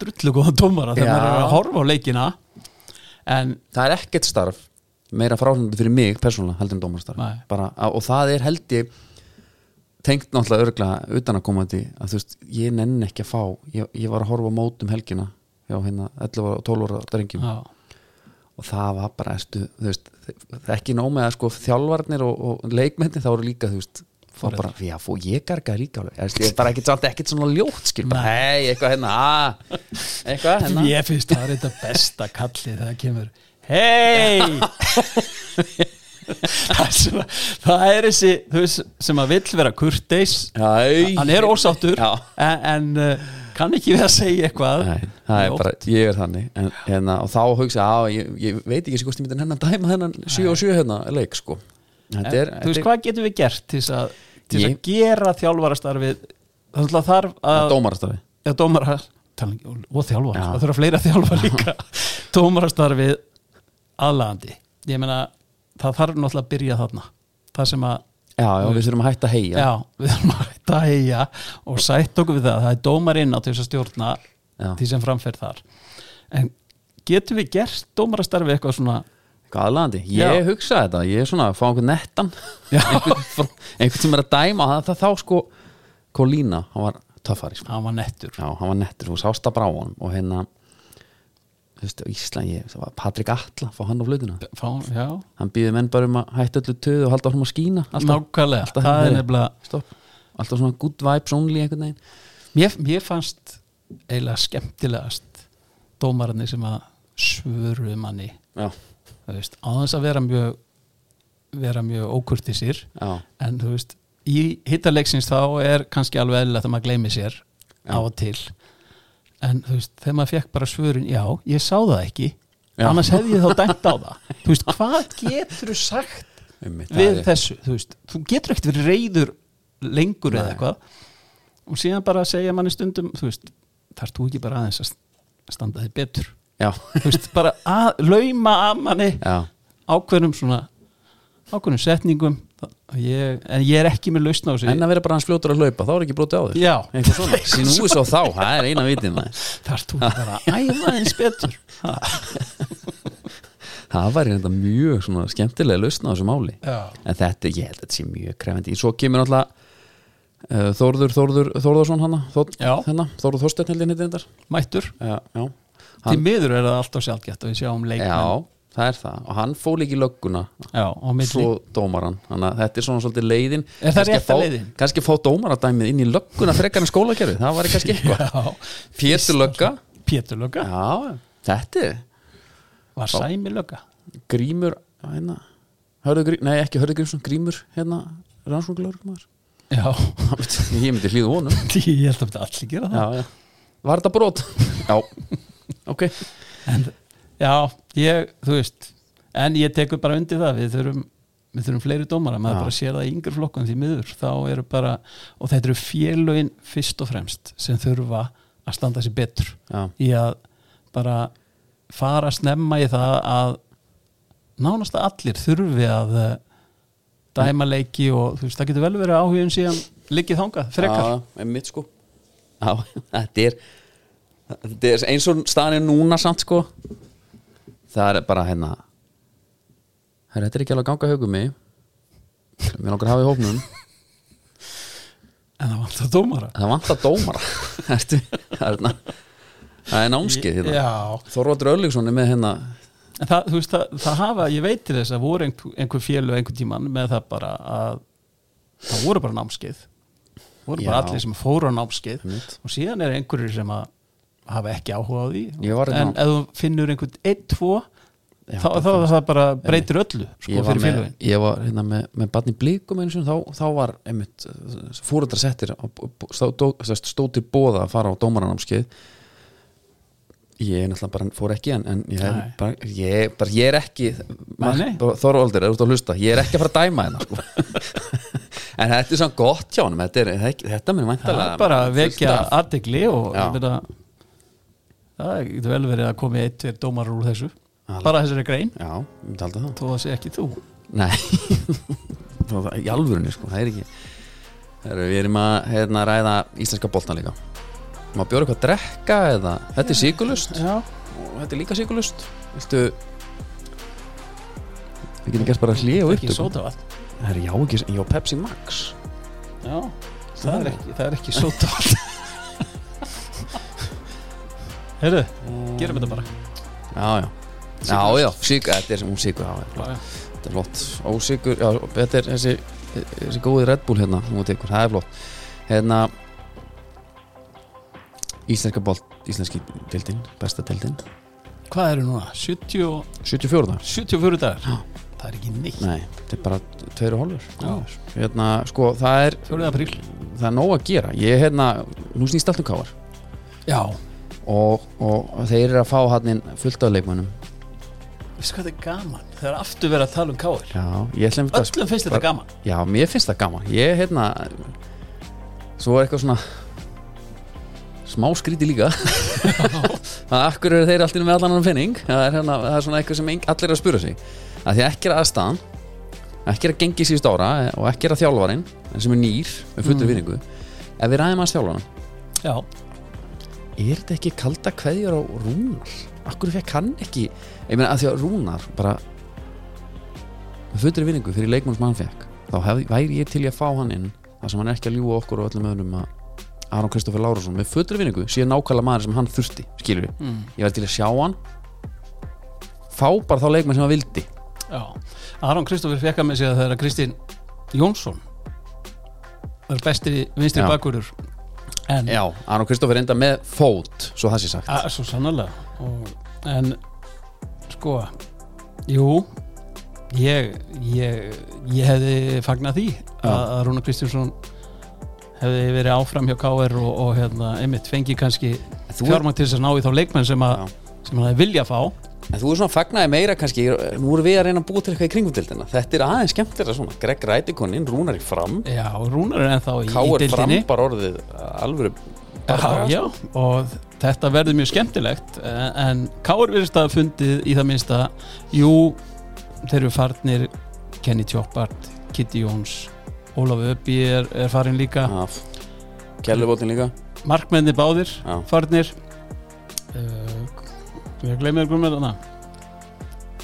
Speaker 2: drullu góðan tómara þegar
Speaker 1: Já.
Speaker 2: maður er að horfa á leikina en
Speaker 1: það er ekkert starf meira fráhundu fyrir mig persónulega heldur en dómarastarf
Speaker 2: Nei.
Speaker 1: bara, á- og það er held ég tengt náttúrulega örgla utan að koma því að þú veist, ég nenni ekki að fá ég, ég var að horfa á mótum helgina já, hérna, 11 og 12 ára drengjum
Speaker 2: já
Speaker 1: og það var bara, stu, þú veist þe- ekki nóg með að sko þjálfarnir og, og leikmyndin þá eru líka, þú veist fór bara, já, fó, ég gargaði líka alveg Þú veist, ég er bara ekkert, samt ekkert svona ljótt skil bara, hei, eitthvað hérna, að eitthvað hérna
Speaker 2: Ég finnst það er þetta besta kalli þegar það kemur Hei það, er svona, það er þessi þú veist, sem að vill vera kurteis
Speaker 1: Æ.
Speaker 2: Hann er ósáttur
Speaker 1: Já.
Speaker 2: en, en uh, kann ekki við að segja eitthvað
Speaker 1: Nei, það er
Speaker 2: Ljótt.
Speaker 1: bara, ég er þannig en, hérna, og þá hugsa ég, á, ég, ég veit ekki hvort ég myndi hennan dæma hennan 7 og 7 hérna leik sko
Speaker 2: En
Speaker 1: þetta er,
Speaker 2: Þú veist,
Speaker 1: þetta
Speaker 2: hvað getum við gert til þess að, til þess
Speaker 1: Ég-
Speaker 2: að gera þjálfarastarfið Það þarf
Speaker 1: er
Speaker 2: að
Speaker 1: dómarastarfi
Speaker 2: eða dómara talan- og þjálfar,
Speaker 1: Já.
Speaker 2: það þurfa fleira þjálfar líka dómarastarfið aðlaðandi ég meina, það þarf náttúrulega að byrja þarna það sem að,
Speaker 1: já, já, við þurfum að hætta
Speaker 2: já,
Speaker 1: að heia
Speaker 2: við þurfum að hætta að heia og sætt okkur við það það er dómarinn á til þess að stjórna
Speaker 1: Já.
Speaker 2: því sem framferð þar en getum við gert dómarastarfið eitthvað svona
Speaker 1: hvað aðlandi, ég
Speaker 2: Já.
Speaker 1: hugsa þetta ég er svona að fá einhvern nettan einhvern, frá- einhvern sem er að dæma það, það, þá sko, Kolína, hann var töffari sko.
Speaker 2: hann var nettur,
Speaker 1: já, hann var nettur, þú sást að brá honum og hérna þú veist, á Íslandi, ég- það var Patrik Atla fá hann á flutuna,
Speaker 2: Fá, já,
Speaker 1: hann býði menn bara um að hætta öllu töðu og halda honum að skína alltaf
Speaker 2: nákvæmlega
Speaker 1: alltaf
Speaker 2: það er
Speaker 1: hérna.
Speaker 2: nefnilega
Speaker 1: stopp alltaf svona good vibes only einhvern veginn
Speaker 2: Mér, mér fannst eiginlega skemmtilegast dómararnir sem að svöru manni
Speaker 1: já,
Speaker 2: þú veist, á þess að vera mjög vera mjög ókurtisir
Speaker 1: já,
Speaker 2: en þú veist, í hittalegsins þá er kannski alveg eðlilegt að maður gleymi sér á og til en þú veist, þegar maður fekk bara svörin já, ég sá það ekki
Speaker 1: Já.
Speaker 2: annars hefði ég þá dæmt á það þú veist, hvað getur þú sagt
Speaker 1: einmitt,
Speaker 2: við
Speaker 1: það er-
Speaker 2: þessu, þú veist, þú getur ekkert verið reyður lengur eða eitthvað og síðan bara segja manni stundum þú veist, þar þú ekki bara aðeins að standa þig betur
Speaker 1: já,
Speaker 2: þú veist, bara að, lauma að manni
Speaker 1: já,
Speaker 2: ákveðnum svona ákveðnum setningum og ég, en ég er ekki með lausn á þessu
Speaker 1: en að vera bara hans fljótur að hlaupa þá er ekki brotið á þér
Speaker 2: Já.
Speaker 1: eitthvað svona, sín úi svo þá, það er eina vitið maður.
Speaker 2: þar þú ekki bara að æfa aðeins betur
Speaker 1: það væri þetta mjög svona skemmtilega lausna á þessu máli
Speaker 2: Já.
Speaker 1: en þetta, ég held að þetta sé mjög krefandi svo kemur alltaf uh, Þórður, Þórður, Þórðarsson hana Þór,
Speaker 2: Já.
Speaker 1: hérna, Þórður Þorsteinn held ég nýtti þetta
Speaker 2: mættur,
Speaker 1: já, já.
Speaker 2: til
Speaker 1: Hann,
Speaker 2: miður er það alltaf sjálfgætt og við sjáum leikmenn
Speaker 1: já, það er það og hann fól ekki lögguna
Speaker 2: Já, á milli
Speaker 1: svo dómaran, þannig að þetta er svona svolítið leiðin
Speaker 2: Er það
Speaker 1: Kannski að
Speaker 2: rétta
Speaker 1: fá-
Speaker 2: leiðin?
Speaker 1: kannski að fá dómaradæmið inn í lögguna frekar en skólakerfið, það var kannski eitthvað
Speaker 2: Já,
Speaker 1: Pétur lögga,
Speaker 2: Pétur Lögga
Speaker 1: já, þetta er
Speaker 2: var Sæmi Lögga
Speaker 1: grímur hérna, hörðu grímur, nei ekki hörðu grímur grímur, hérna, rannsóknlörgumar
Speaker 2: Já,
Speaker 1: ég myndi hlýða honum
Speaker 2: ég held að þetta allir gera það
Speaker 1: já, já. var þetta brot? já, ok
Speaker 2: Já, ég, þú veist en ég tekur bara undir það við þurfum, við þurfum fleiri dómara maður bara sér það í yngri flokkum því miður þá eru bara, og þetta eru félögin fyrst og fremst sem þurfa að standa sér betur
Speaker 1: Já.
Speaker 2: í að bara fara snemma í það að nánast að allir þurfi að eh, dæma leiki og þú veist, það getur vel verið að áhugin síðan liggið þangað, frekar
Speaker 1: já, einmitt sko já, þetta er þetta er eins og staðan er núna samt sko það er bara hérna Her, þetta er ekki alveg að ganga haugum mig mér langar að hafa í hópnum
Speaker 2: en það vantar dómara
Speaker 1: það vantar dómara Ertu, það er hérna- það er námskið hérna.
Speaker 2: Já,
Speaker 1: Þorvaldur Örlíksson er með hérna
Speaker 2: En það, þú veist, það, það hafa, ég veit til þess að voru einhver, einhver félög einhver tíman með það bara að það voru bara námskeið voru bara
Speaker 1: Já.
Speaker 2: allir sem fóru á námskeið
Speaker 1: Einmitt.
Speaker 2: og síðan er einhverjir sem að hafa ekki áhuga á því
Speaker 1: Ég var
Speaker 2: en
Speaker 1: hérna-
Speaker 2: ef þú finnur einhvern einn, tvo
Speaker 1: Já,
Speaker 2: þá, þá það bara breytir öllu sko,
Speaker 1: ég var,
Speaker 2: fyrir
Speaker 1: með,
Speaker 2: félögin
Speaker 1: ég var hérna, með, með barn í blíkum eins og þá, þá var einmitt fóruðar settir á- stó- dó- sem sagt, stóð til bóða að fara á dómaranámskeið ég er náttúrulega bara fór ekki en, en ég,
Speaker 2: Nei.
Speaker 1: bara, ég, bara, ég er ekki
Speaker 2: nei.
Speaker 1: Þorvaldur, er út að hlusta ég er ekki að fara að dæma hérna sko. en þetta er svona gott hjá honum þetta, er, þetta er ekki- þetta mér
Speaker 2: það
Speaker 1: væntalega
Speaker 2: er bara að vekja
Speaker 1: fullt af-
Speaker 2: aðdegli og
Speaker 1: Já.
Speaker 2: ég meina, það getur vel verið að komi eitt, tveir dómar úr þessu
Speaker 1: Alveg.
Speaker 2: bara þessari grein,
Speaker 1: já, ég myndi halda það
Speaker 2: þó það sé ekki þú
Speaker 1: Nei Það er Í alvörunni sko, það er ekki Heru, Við erum að hérna, ræða íslenska boltan líka Má bjóra eitthvað að drekka eða Þetta er síkulust
Speaker 2: Já.
Speaker 1: og þetta er líka síkulust Viltu Við getum gert bara hlið og
Speaker 2: ekki
Speaker 1: upptökum
Speaker 2: sótavatn
Speaker 1: Það er já ekki, já Pepsi Max
Speaker 2: Já, það er ekki, það er ekki sótavall Heyrðu, gerum þetta bara
Speaker 1: Já, já Já, já, síkur, þetta er sem hún síkur já, já,
Speaker 2: Já, já.
Speaker 1: Þetta er flott, ósíkur já, Þetta er þessi, þessi góði Red Bull hérna hún tekur, það er flott Hérna Íslenska bolt, íslenski deildin Besta deildin,
Speaker 2: Hvað eru núna? 70 og,
Speaker 1: 74 þar
Speaker 2: 74 dagar? Það er ekki neitt
Speaker 1: Nei, þetta er bara tveir og hálfur
Speaker 2: Já.
Speaker 1: Hérna, sko, það er
Speaker 2: 4. apríl
Speaker 1: það er nóg að gera Ég, hérna, nú snýst allt um káar
Speaker 2: Já,
Speaker 1: og, og þeir eru að fá hann fullt af leikmönnum
Speaker 2: veistu hvað þetta er gaman? Það er aftur verið að tala um káir
Speaker 1: Já, ég ætlum að
Speaker 2: Öllum finnst þetta gaman
Speaker 1: Já, mér finnst það gaman Ég, hérna Svo er eitthvað svona Smá skríti líka Það akkur eru þeir allir með allan annan penning Það er, hérna, það er svona eitthvað sem eng, allir eru að spura sig að Því að ekki er aðstaðan Ekki er að gengi síðust ára eh, Og ekki er að þjálfarinn En sem er nýr Með fullur mm. vinningu Ef við ræðum að þjálfarinn
Speaker 2: Já,
Speaker 1: Er þetta ekki kalda kveðjur á Rúnar? Akkur fekk hann ekki Ég meina að því að Rúnar bara með fullri vinningu fyrir leikmann sem hann fekk þá hef, væri ég til í að fá hann inn þar sem hann er ekki að ljúga okkur og öllum öðrum að Aron Kristoffer Lárusson með fullri vinningu sé nákvæmlega maður sem hann þurfti, skilur við ég væri til í að sjá hann fá bara þá leikmann sem hann vildi
Speaker 2: já Aron Kristoffer fekk að með sig að það er að Kristín Jónsson Það er besti vinstri
Speaker 1: Já.
Speaker 2: bakurur En
Speaker 1: Já, Aron Kristoffer enda með fót svo það sé sagt
Speaker 2: A, Ah, svo sannlega og, en sko jú ég, ég, ég hefði fagnað því að, að Rúna Kristjánsson hefði verið áfram hjá KR og, og hérna, einmitt fengi kannski
Speaker 1: Þú-
Speaker 2: fjármang til þess að ná í þá leikmenn sem, að, sem hann hefði vilja fá
Speaker 1: En þú er svona fagnaði meira kannski ég- Nú erum við að reyna að búa til eitthvað í kringum deildina Þetta er aðeins skemmtilega svona Greg Rætikoninn, Rúnar í fram
Speaker 2: Já, Rúnar er ennþá í, í
Speaker 1: Káur fram
Speaker 2: dildinni
Speaker 1: bara orðið alvöru
Speaker 2: já, já, og þetta verður mjög skemmtilegt eh, en Káur virðist að hafa fundið í það minnsta jú, þeir eru farnir Kenny Tjópart, Kitty Jóns Ólaf Öbbi er, er farin líka
Speaker 1: af Kjellubótin líka
Speaker 2: markmenni báðir
Speaker 1: Já.
Speaker 2: farnir uh, við gleymum ykkur með þarna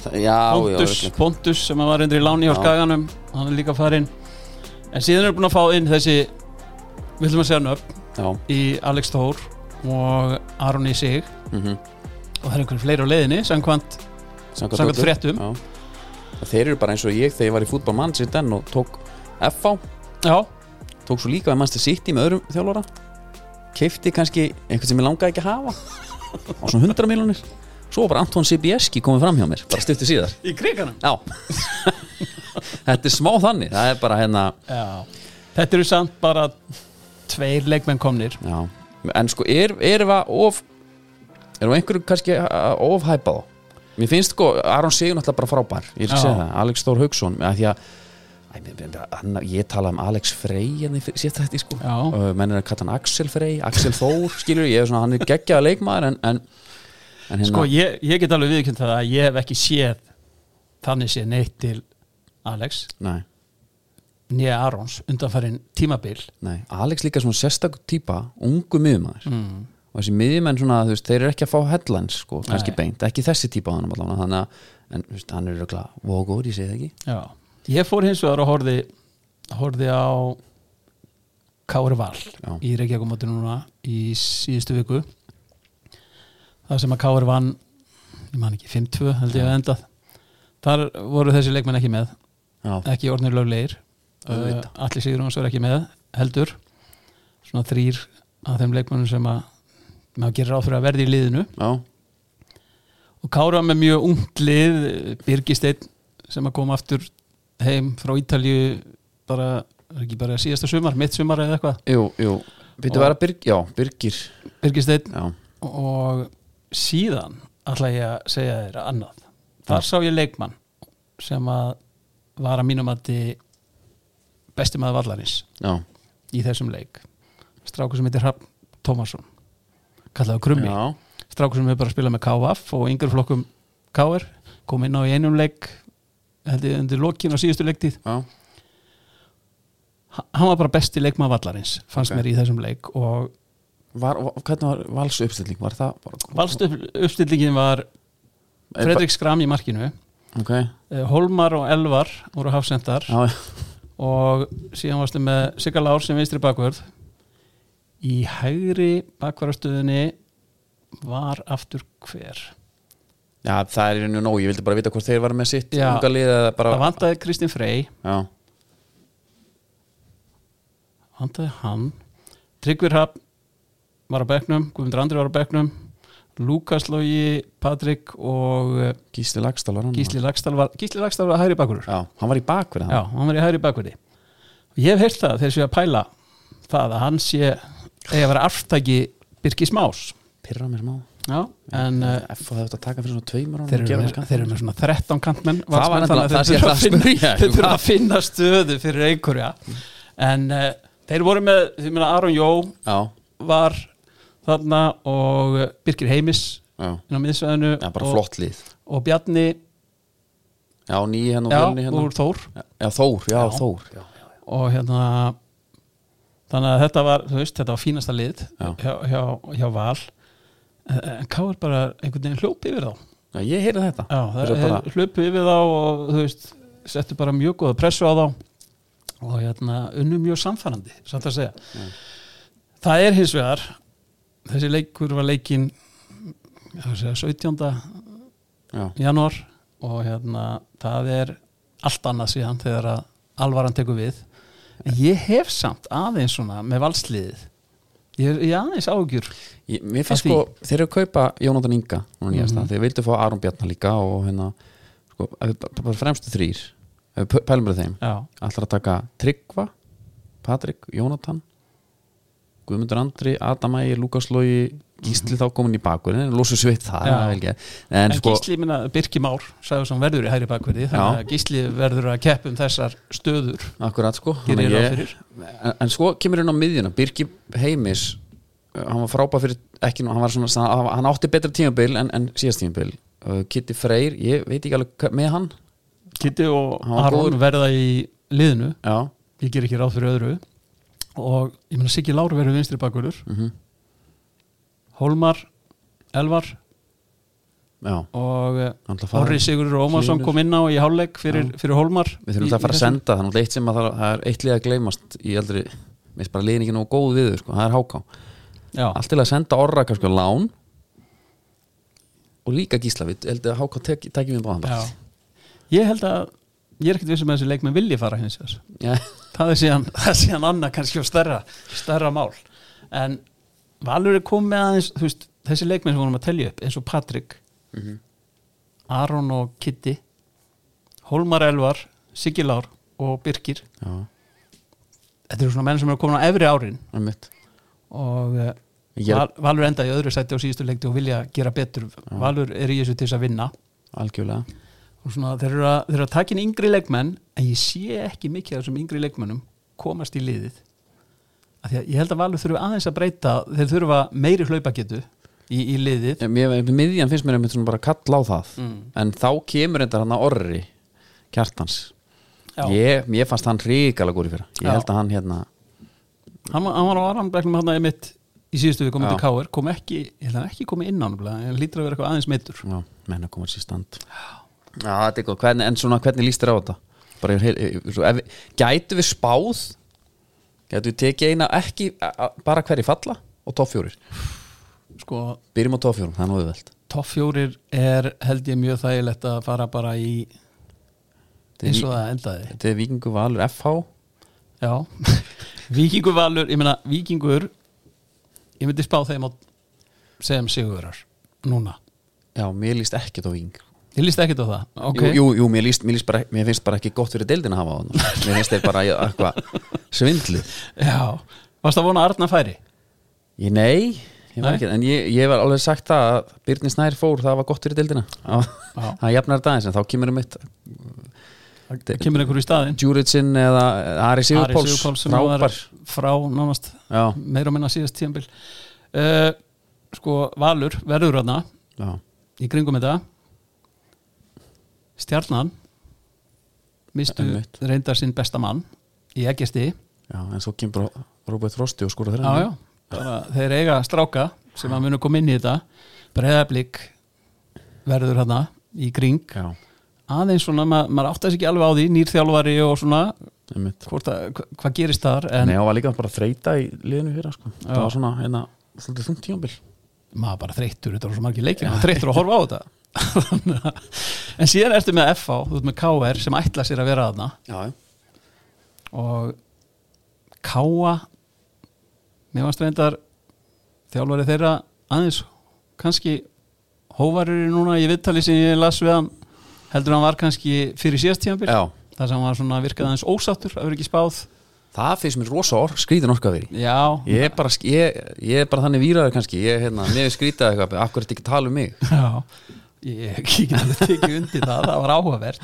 Speaker 1: Þa- Já, já,
Speaker 2: Pontus,
Speaker 1: örugglega.
Speaker 2: Pontus sem var reyndri í láni hjá
Speaker 1: Já.
Speaker 2: skaganum hann er líka farinn en síðan er búin að fá inn þessi við ætlum að segja nöfn
Speaker 1: já
Speaker 2: í Alex Thor og Aron í sig
Speaker 1: mhm.
Speaker 2: og það er einhverjum fleiri á leiðinni samkvæmt Samkvæmt
Speaker 1: öllu.
Speaker 2: fréttum.
Speaker 1: Já. Þeir eru bara eins og ég þegar ég var í fútbolmann sér den og tók FV
Speaker 2: já,
Speaker 1: tók svo líka að mannstu City með öðrum þjálfara keifti kannski einhvern sem ég langaði ekki að hafa á svona 100 miljonir svo var bara Anton Sibieski komið fram hjá mér bara stuttu síðar
Speaker 2: í kriganum
Speaker 1: Já Þetta er smá þannig það er bara hérna
Speaker 2: já. þetta eru samt bara tveir leikmenn komnir
Speaker 1: já. en sko er, erum við of erum við einhverju kannski að ofhæpa þá mér finnst sko Aron Sigur náttúrulega bara frábær ég
Speaker 2: Já.
Speaker 1: er að segja það Alex Stór Haugsson að því að Æ, mér- mér- mér- hann- ég tala um Alex Frey en ég sétt þetta sko
Speaker 2: Já.
Speaker 1: Ö, menn er að kalla hann Axel Frey Axel Þór skilur ég er svona hann er geggjaða leikmaður en, en, en hérna,
Speaker 2: sko ég, ég get alveg viðkjönd það að ég hef ekki séð þannig séð neitt til Alex
Speaker 1: nei,
Speaker 2: nýja Arons undanfærin tímabil
Speaker 1: nei, Alex líka svona sérstakur típa ungu miðmaður mm. og þessi miðjumenn svona þú veist, þeir eru ekki að fá headlines sko kannski beint ekki þessi típa á hann allavega þannig að en, þú veist, hann er röglega vógóð ég segi það ekki
Speaker 2: já. ég fór hins vegar og horfði horfði á Kári Val
Speaker 1: Já.
Speaker 2: í Reykjavíkumóti núna í síðustu viku það sem að Kári vann ég man ekki 5-2 held ég að endað þar voru þessi leikmenn ekki með
Speaker 1: Já,
Speaker 2: ekki orðnir löglegir uh,
Speaker 1: Auðvitað.
Speaker 2: allir síður hans var ekki með heldur svona þrýr af þeim leikmennum sem að maður gerir ráð fyrir að verði í liðinu
Speaker 1: já,
Speaker 2: og Kára með mjög ungt lið Birgisteinn sem að koma aftur heim frá Ítalju bara, er ekki bara síðasta sumar mitt sumar eða eitthvað,
Speaker 1: jú, jú Býttu að vera Byrg, já, Byrgir
Speaker 2: Birgisteinn
Speaker 1: Já,
Speaker 2: og síðan ætla ég að segja þér annað þar sá ég leikmann sem að var að mínum að besti maður vallarins
Speaker 1: já,
Speaker 2: í þessum leik strákur sem heitir Hrafn Tómasson kallaðu Krummi
Speaker 1: já
Speaker 2: strákur sem hefur bara spilað með KF og yngur flokkum KR kom inn á í einum leik held ég undir lokin á síðustu leiktíð
Speaker 1: Já,
Speaker 2: Ha- hann var bara besti leikmað vallarins fannst
Speaker 1: Ok.
Speaker 2: mér í þessum leik og
Speaker 1: var, var, hvernig var vals uppstilling? Var það bara
Speaker 2: valstu uppstillingin var
Speaker 1: Er
Speaker 2: Fredrik Skram í markinu
Speaker 1: Ok, já,
Speaker 2: eh, Holmar og Elvar voru hafsendar
Speaker 1: já,
Speaker 2: og síðan varstu með Sigga Lár sem vinstri bakvörð í hægri bakvörðastöðinni var aftur hver
Speaker 1: já það er í rauninu nóg Ég vildi bara vita hvort þeir var með sitt
Speaker 2: Já.
Speaker 1: unga lið eða bara
Speaker 2: það vantaði Kristinn Frey
Speaker 1: Já,
Speaker 2: handaði hann Tryggvir Hafn var á bekknum Guðmundur Andri var á bekknum Lukas Lógi, Patrik og eh,
Speaker 1: Gísli Lagstall var hann
Speaker 2: Gísli Lagstall var Gísli Lagstall var hægri bakkurur
Speaker 1: Mm. Já, hann var í bakverð
Speaker 2: já, hann var í hægri bakkurði ég hef heyrt það þegar séu að pæla það að hann sé eigi að vera aftaki Birgis Más
Speaker 1: Pirra mér smá
Speaker 2: já, en uh,
Speaker 1: F og það þetta að taka fyrir svona tveimur
Speaker 2: þeir, eru með, þeir eru með svona 13 kantmenn valsmenn,
Speaker 1: var
Speaker 2: þannig að
Speaker 1: nefnilega-
Speaker 2: þeir
Speaker 1: það sé
Speaker 2: þurfa
Speaker 1: það
Speaker 2: að finna- þeir þurfa
Speaker 1: að spyrja.
Speaker 2: að finna stöðu fyrir einhverja en uh, þeir voru með, þeir meina Aron Jó
Speaker 1: Já,
Speaker 2: var þarna og Birgir Heimis
Speaker 1: já,
Speaker 2: inn á miðsvæðinu
Speaker 1: já, bara
Speaker 2: og,
Speaker 1: flott lið
Speaker 2: og Bjarni
Speaker 1: Já, nýja henn og
Speaker 2: já,
Speaker 1: fjölni henn
Speaker 2: úr Þór
Speaker 1: hérna. Já, Þór, já, Þór Já,
Speaker 2: og hérna þannig að þetta var, þú veist, þetta var fínasta lið
Speaker 1: Já.
Speaker 2: hjá, hjá, hjá Val en en K.R. bara einhvern veginn hljópi yfir þá
Speaker 1: Já, ég heyrði þetta
Speaker 2: já, það
Speaker 1: Þeir eru bara,
Speaker 2: hljópi yfir þá og þú veist, settu bara mjög góða pressu á þá og hérna unnu mjög samfærandi, samt að segja það er hins vegar þessi leikur var leikin ég segja, 17
Speaker 1: já,
Speaker 2: janúar og hérna það er allt annað síðan þegar að alvaran tekur við en ég hef samt aðeins svona með valsliðið ég er ég er aðeins ágjur
Speaker 1: Ég, mér finnst
Speaker 2: Að því- Mhm.
Speaker 1: sko, þeir eru að kaupa Jónatan Inga núna nýjasta, þeir vildu fá Aron Bjarnar líka og hérna, sko, ef við bara- bara fremstu þrýr, ef við pö- pælum bara þeim
Speaker 2: já,
Speaker 1: ætlar að taka Tryggva Patrik, Jónatan Guðmundur Andri, Adam Ægir, Lukas Lógi Gísli þá komin í bakurinn en losur sveitt það
Speaker 2: Mhm. Já.
Speaker 1: það er vel gert. en,
Speaker 2: En
Speaker 1: sko,
Speaker 2: Gísli, minna, Birki Már sagði sem verður í hægri bakverði þannig
Speaker 1: Já.
Speaker 2: að Gísli verður að keppa um þessar stöður
Speaker 1: akkurat sko
Speaker 2: gerir
Speaker 1: þannig að
Speaker 2: ráð
Speaker 1: ég-
Speaker 2: fyrir.
Speaker 1: en, en sko kemur inn á miðjuna Birgi Heimis uh, hann var frábæð fyrir ekki nú, hann, var svona, hann- hann átti betra tímabil en, en síðast tímabil uh, Kitty Freyr, ég veit ekki alveg hvað- með hann
Speaker 2: Kitty og
Speaker 1: Hann var
Speaker 2: Aron
Speaker 1: góður.
Speaker 2: verða í liðinu
Speaker 1: já,
Speaker 2: ég ger ekki ráð fyrir öðru og ég meina Siggi Láru verður vinstri bakverður
Speaker 1: mhm,
Speaker 2: Hólmar Elvar
Speaker 1: já
Speaker 2: og eh,
Speaker 1: Hann ætla að fara
Speaker 2: Orri
Speaker 1: í
Speaker 2: Sigurður Ómarsson
Speaker 1: hlýnur.
Speaker 2: kom inn á í hálfleik fyrir, fyrir Hólmar
Speaker 1: við þurfum alltaf að fara að senda þannig eitt sem að það, það er eitt lið að gleymast í aldrei, við erum bara liðin ekki nógu góð við þau sko, það er háká,
Speaker 2: já,
Speaker 1: allt til að senda orra kannski á lán og líka gísla við heldur að háká tek, tekjum við báðan
Speaker 2: já.
Speaker 1: bara
Speaker 2: ég held að ég er ekkert vissum að þessi leikmenn vilji fara hins vegar
Speaker 1: já,
Speaker 2: það er síðan, það er síðan annað kannski og stærra, stærra mál en Valur er komið aðeins þú veist, þessi leikmenn sem vorum að telja upp eins og Patrik
Speaker 1: Mhm.
Speaker 2: Aron og Kitty Hólmar Elvar, Siggi Lár og Birkir
Speaker 1: já,
Speaker 2: þetta eru svona menn sem eru komin á efri árin
Speaker 1: einmitt
Speaker 2: og eh,
Speaker 1: Ég er-
Speaker 2: Val, Valur endaði í öðru sætti á síðustu leikti og vilja gera betur Valur er í þessu til þess að vinna
Speaker 1: algjörlega
Speaker 2: og svona, þeir, eru að, þeir eru að taka inn yngri leikmenn en ég sé ekki mikið af þessum yngri leikmennum komast í liðið af því að ég held að Valur þurfi aðeins að breyta þeir þurfa méri hlaupagetu í, í liðið
Speaker 1: Ég- mér- miðjan finnst mér einmitt svona bara kalla á það
Speaker 2: Mm.
Speaker 1: en þá kemur þetta hann að orri kjartans
Speaker 2: Já.
Speaker 1: ég, ég fannst hann ríkala góri fyrir ég
Speaker 2: Já.
Speaker 1: held að hann hérna
Speaker 2: hann, var- hann var á aðrambegnum hann að mitt í síðustu við komum
Speaker 1: Já.
Speaker 2: til Káir kom ekki, ég held að hann hafi ekki komið inn á hann en lítur að vera eitthvað aðeins meittur
Speaker 1: já, menna koma sér stand já, þetta er góð, hvernig, en svona hvernig líst þér á þetta bara yfir, heil- yfir, svo, ef, við- gætu við spáð gætu við tekið eina ekki a, a, bara hverju falla og toffjórir
Speaker 2: sko,
Speaker 1: byrjum á toffjórum, það er nú auðvelt
Speaker 2: topp fjórir er held ég mjög þægilegt að fara bara í
Speaker 1: Þetta er
Speaker 2: eins
Speaker 1: í-
Speaker 2: og það endaði
Speaker 1: þetta er vikingu valur FH
Speaker 2: Já, Víkingur Valur, ég meina Víkingur ég myndi spá þeim á sem sigurar núna
Speaker 1: já, mér líst ekkert á viking
Speaker 2: Ég líst ekkert á það okay.
Speaker 1: Jú, jú, jú mér, líst, mér, líst bara, mér finnst bara ekki gott fyrir deildin að hafa hann Mér finnst þeir bara í- eitthvað svindlu
Speaker 2: Já, varst að vona að Arna færi?
Speaker 1: ég, Nei, ég var
Speaker 2: Nei.
Speaker 1: ekki En ég, ég var alveg sagt það að Byrni Snær fór Það var gott fyrir deildina Það
Speaker 2: Já.
Speaker 1: það jafnar þetta aðeins En þá kemur um eitt
Speaker 2: Það kemur einhver í staðinn
Speaker 1: Djuritsinn eða Ari
Speaker 2: Ari
Speaker 1: Sigurpóls
Speaker 2: Sigurpáls sem var
Speaker 1: Frábær
Speaker 2: frá nánast
Speaker 1: Já,
Speaker 2: meira og minna síðast tíðanbíl uh, Sko, Valur verður þarna
Speaker 1: já
Speaker 2: í kringum þetta Stjarnan mistu
Speaker 1: Einmitt.
Speaker 2: reyndar sinn besta mann í ekkjasti
Speaker 1: Já, en svo kemur bara Robert Frosti og skora þeirra
Speaker 2: já, já, bara þeir eiga stráka sem að munu koma inn í þetta breyðablík verður hana í kring
Speaker 1: já
Speaker 2: aðeins svona, ma maður átti þess ekki alveg á því nýrþjálfari og svona
Speaker 1: einmitt.
Speaker 2: hvort að, hva- hvað gerist þar en
Speaker 1: Nei, það var líka bara þreita í liðinu fyrir sko.
Speaker 2: Já.
Speaker 1: Það var svona, hérna, svolítið þungt tímabil
Speaker 2: maður bara þreyttur, þetta var svo margir leikir maður þreyttur að horfa á þetta Þannig að- en síðan ertu með FH, þú ert með KR sem ætla sér að vera þarna
Speaker 1: Já, já
Speaker 2: og Káa mér varst reyndar þjálfari þeirra aðeins kannski hóvarur núna í viðtali sem ég las við hann heldur en hann var kannski fyrir síðast tíðanbyrg
Speaker 1: Já.
Speaker 2: þar sem hann var svona virkað aðeins ósáttur að vera ekki spáð
Speaker 1: Það finnst mér rosa ork, skrýðin orka fyrir
Speaker 2: já,
Speaker 1: Ég er bara, ég, ég er bara þannig víraður kannski Ég er hérna, mér er skrýtað eitthvað Akkur er þetta ekki að tala um mig
Speaker 2: já. ég ég get alveg tekið undir það, það var áhugavert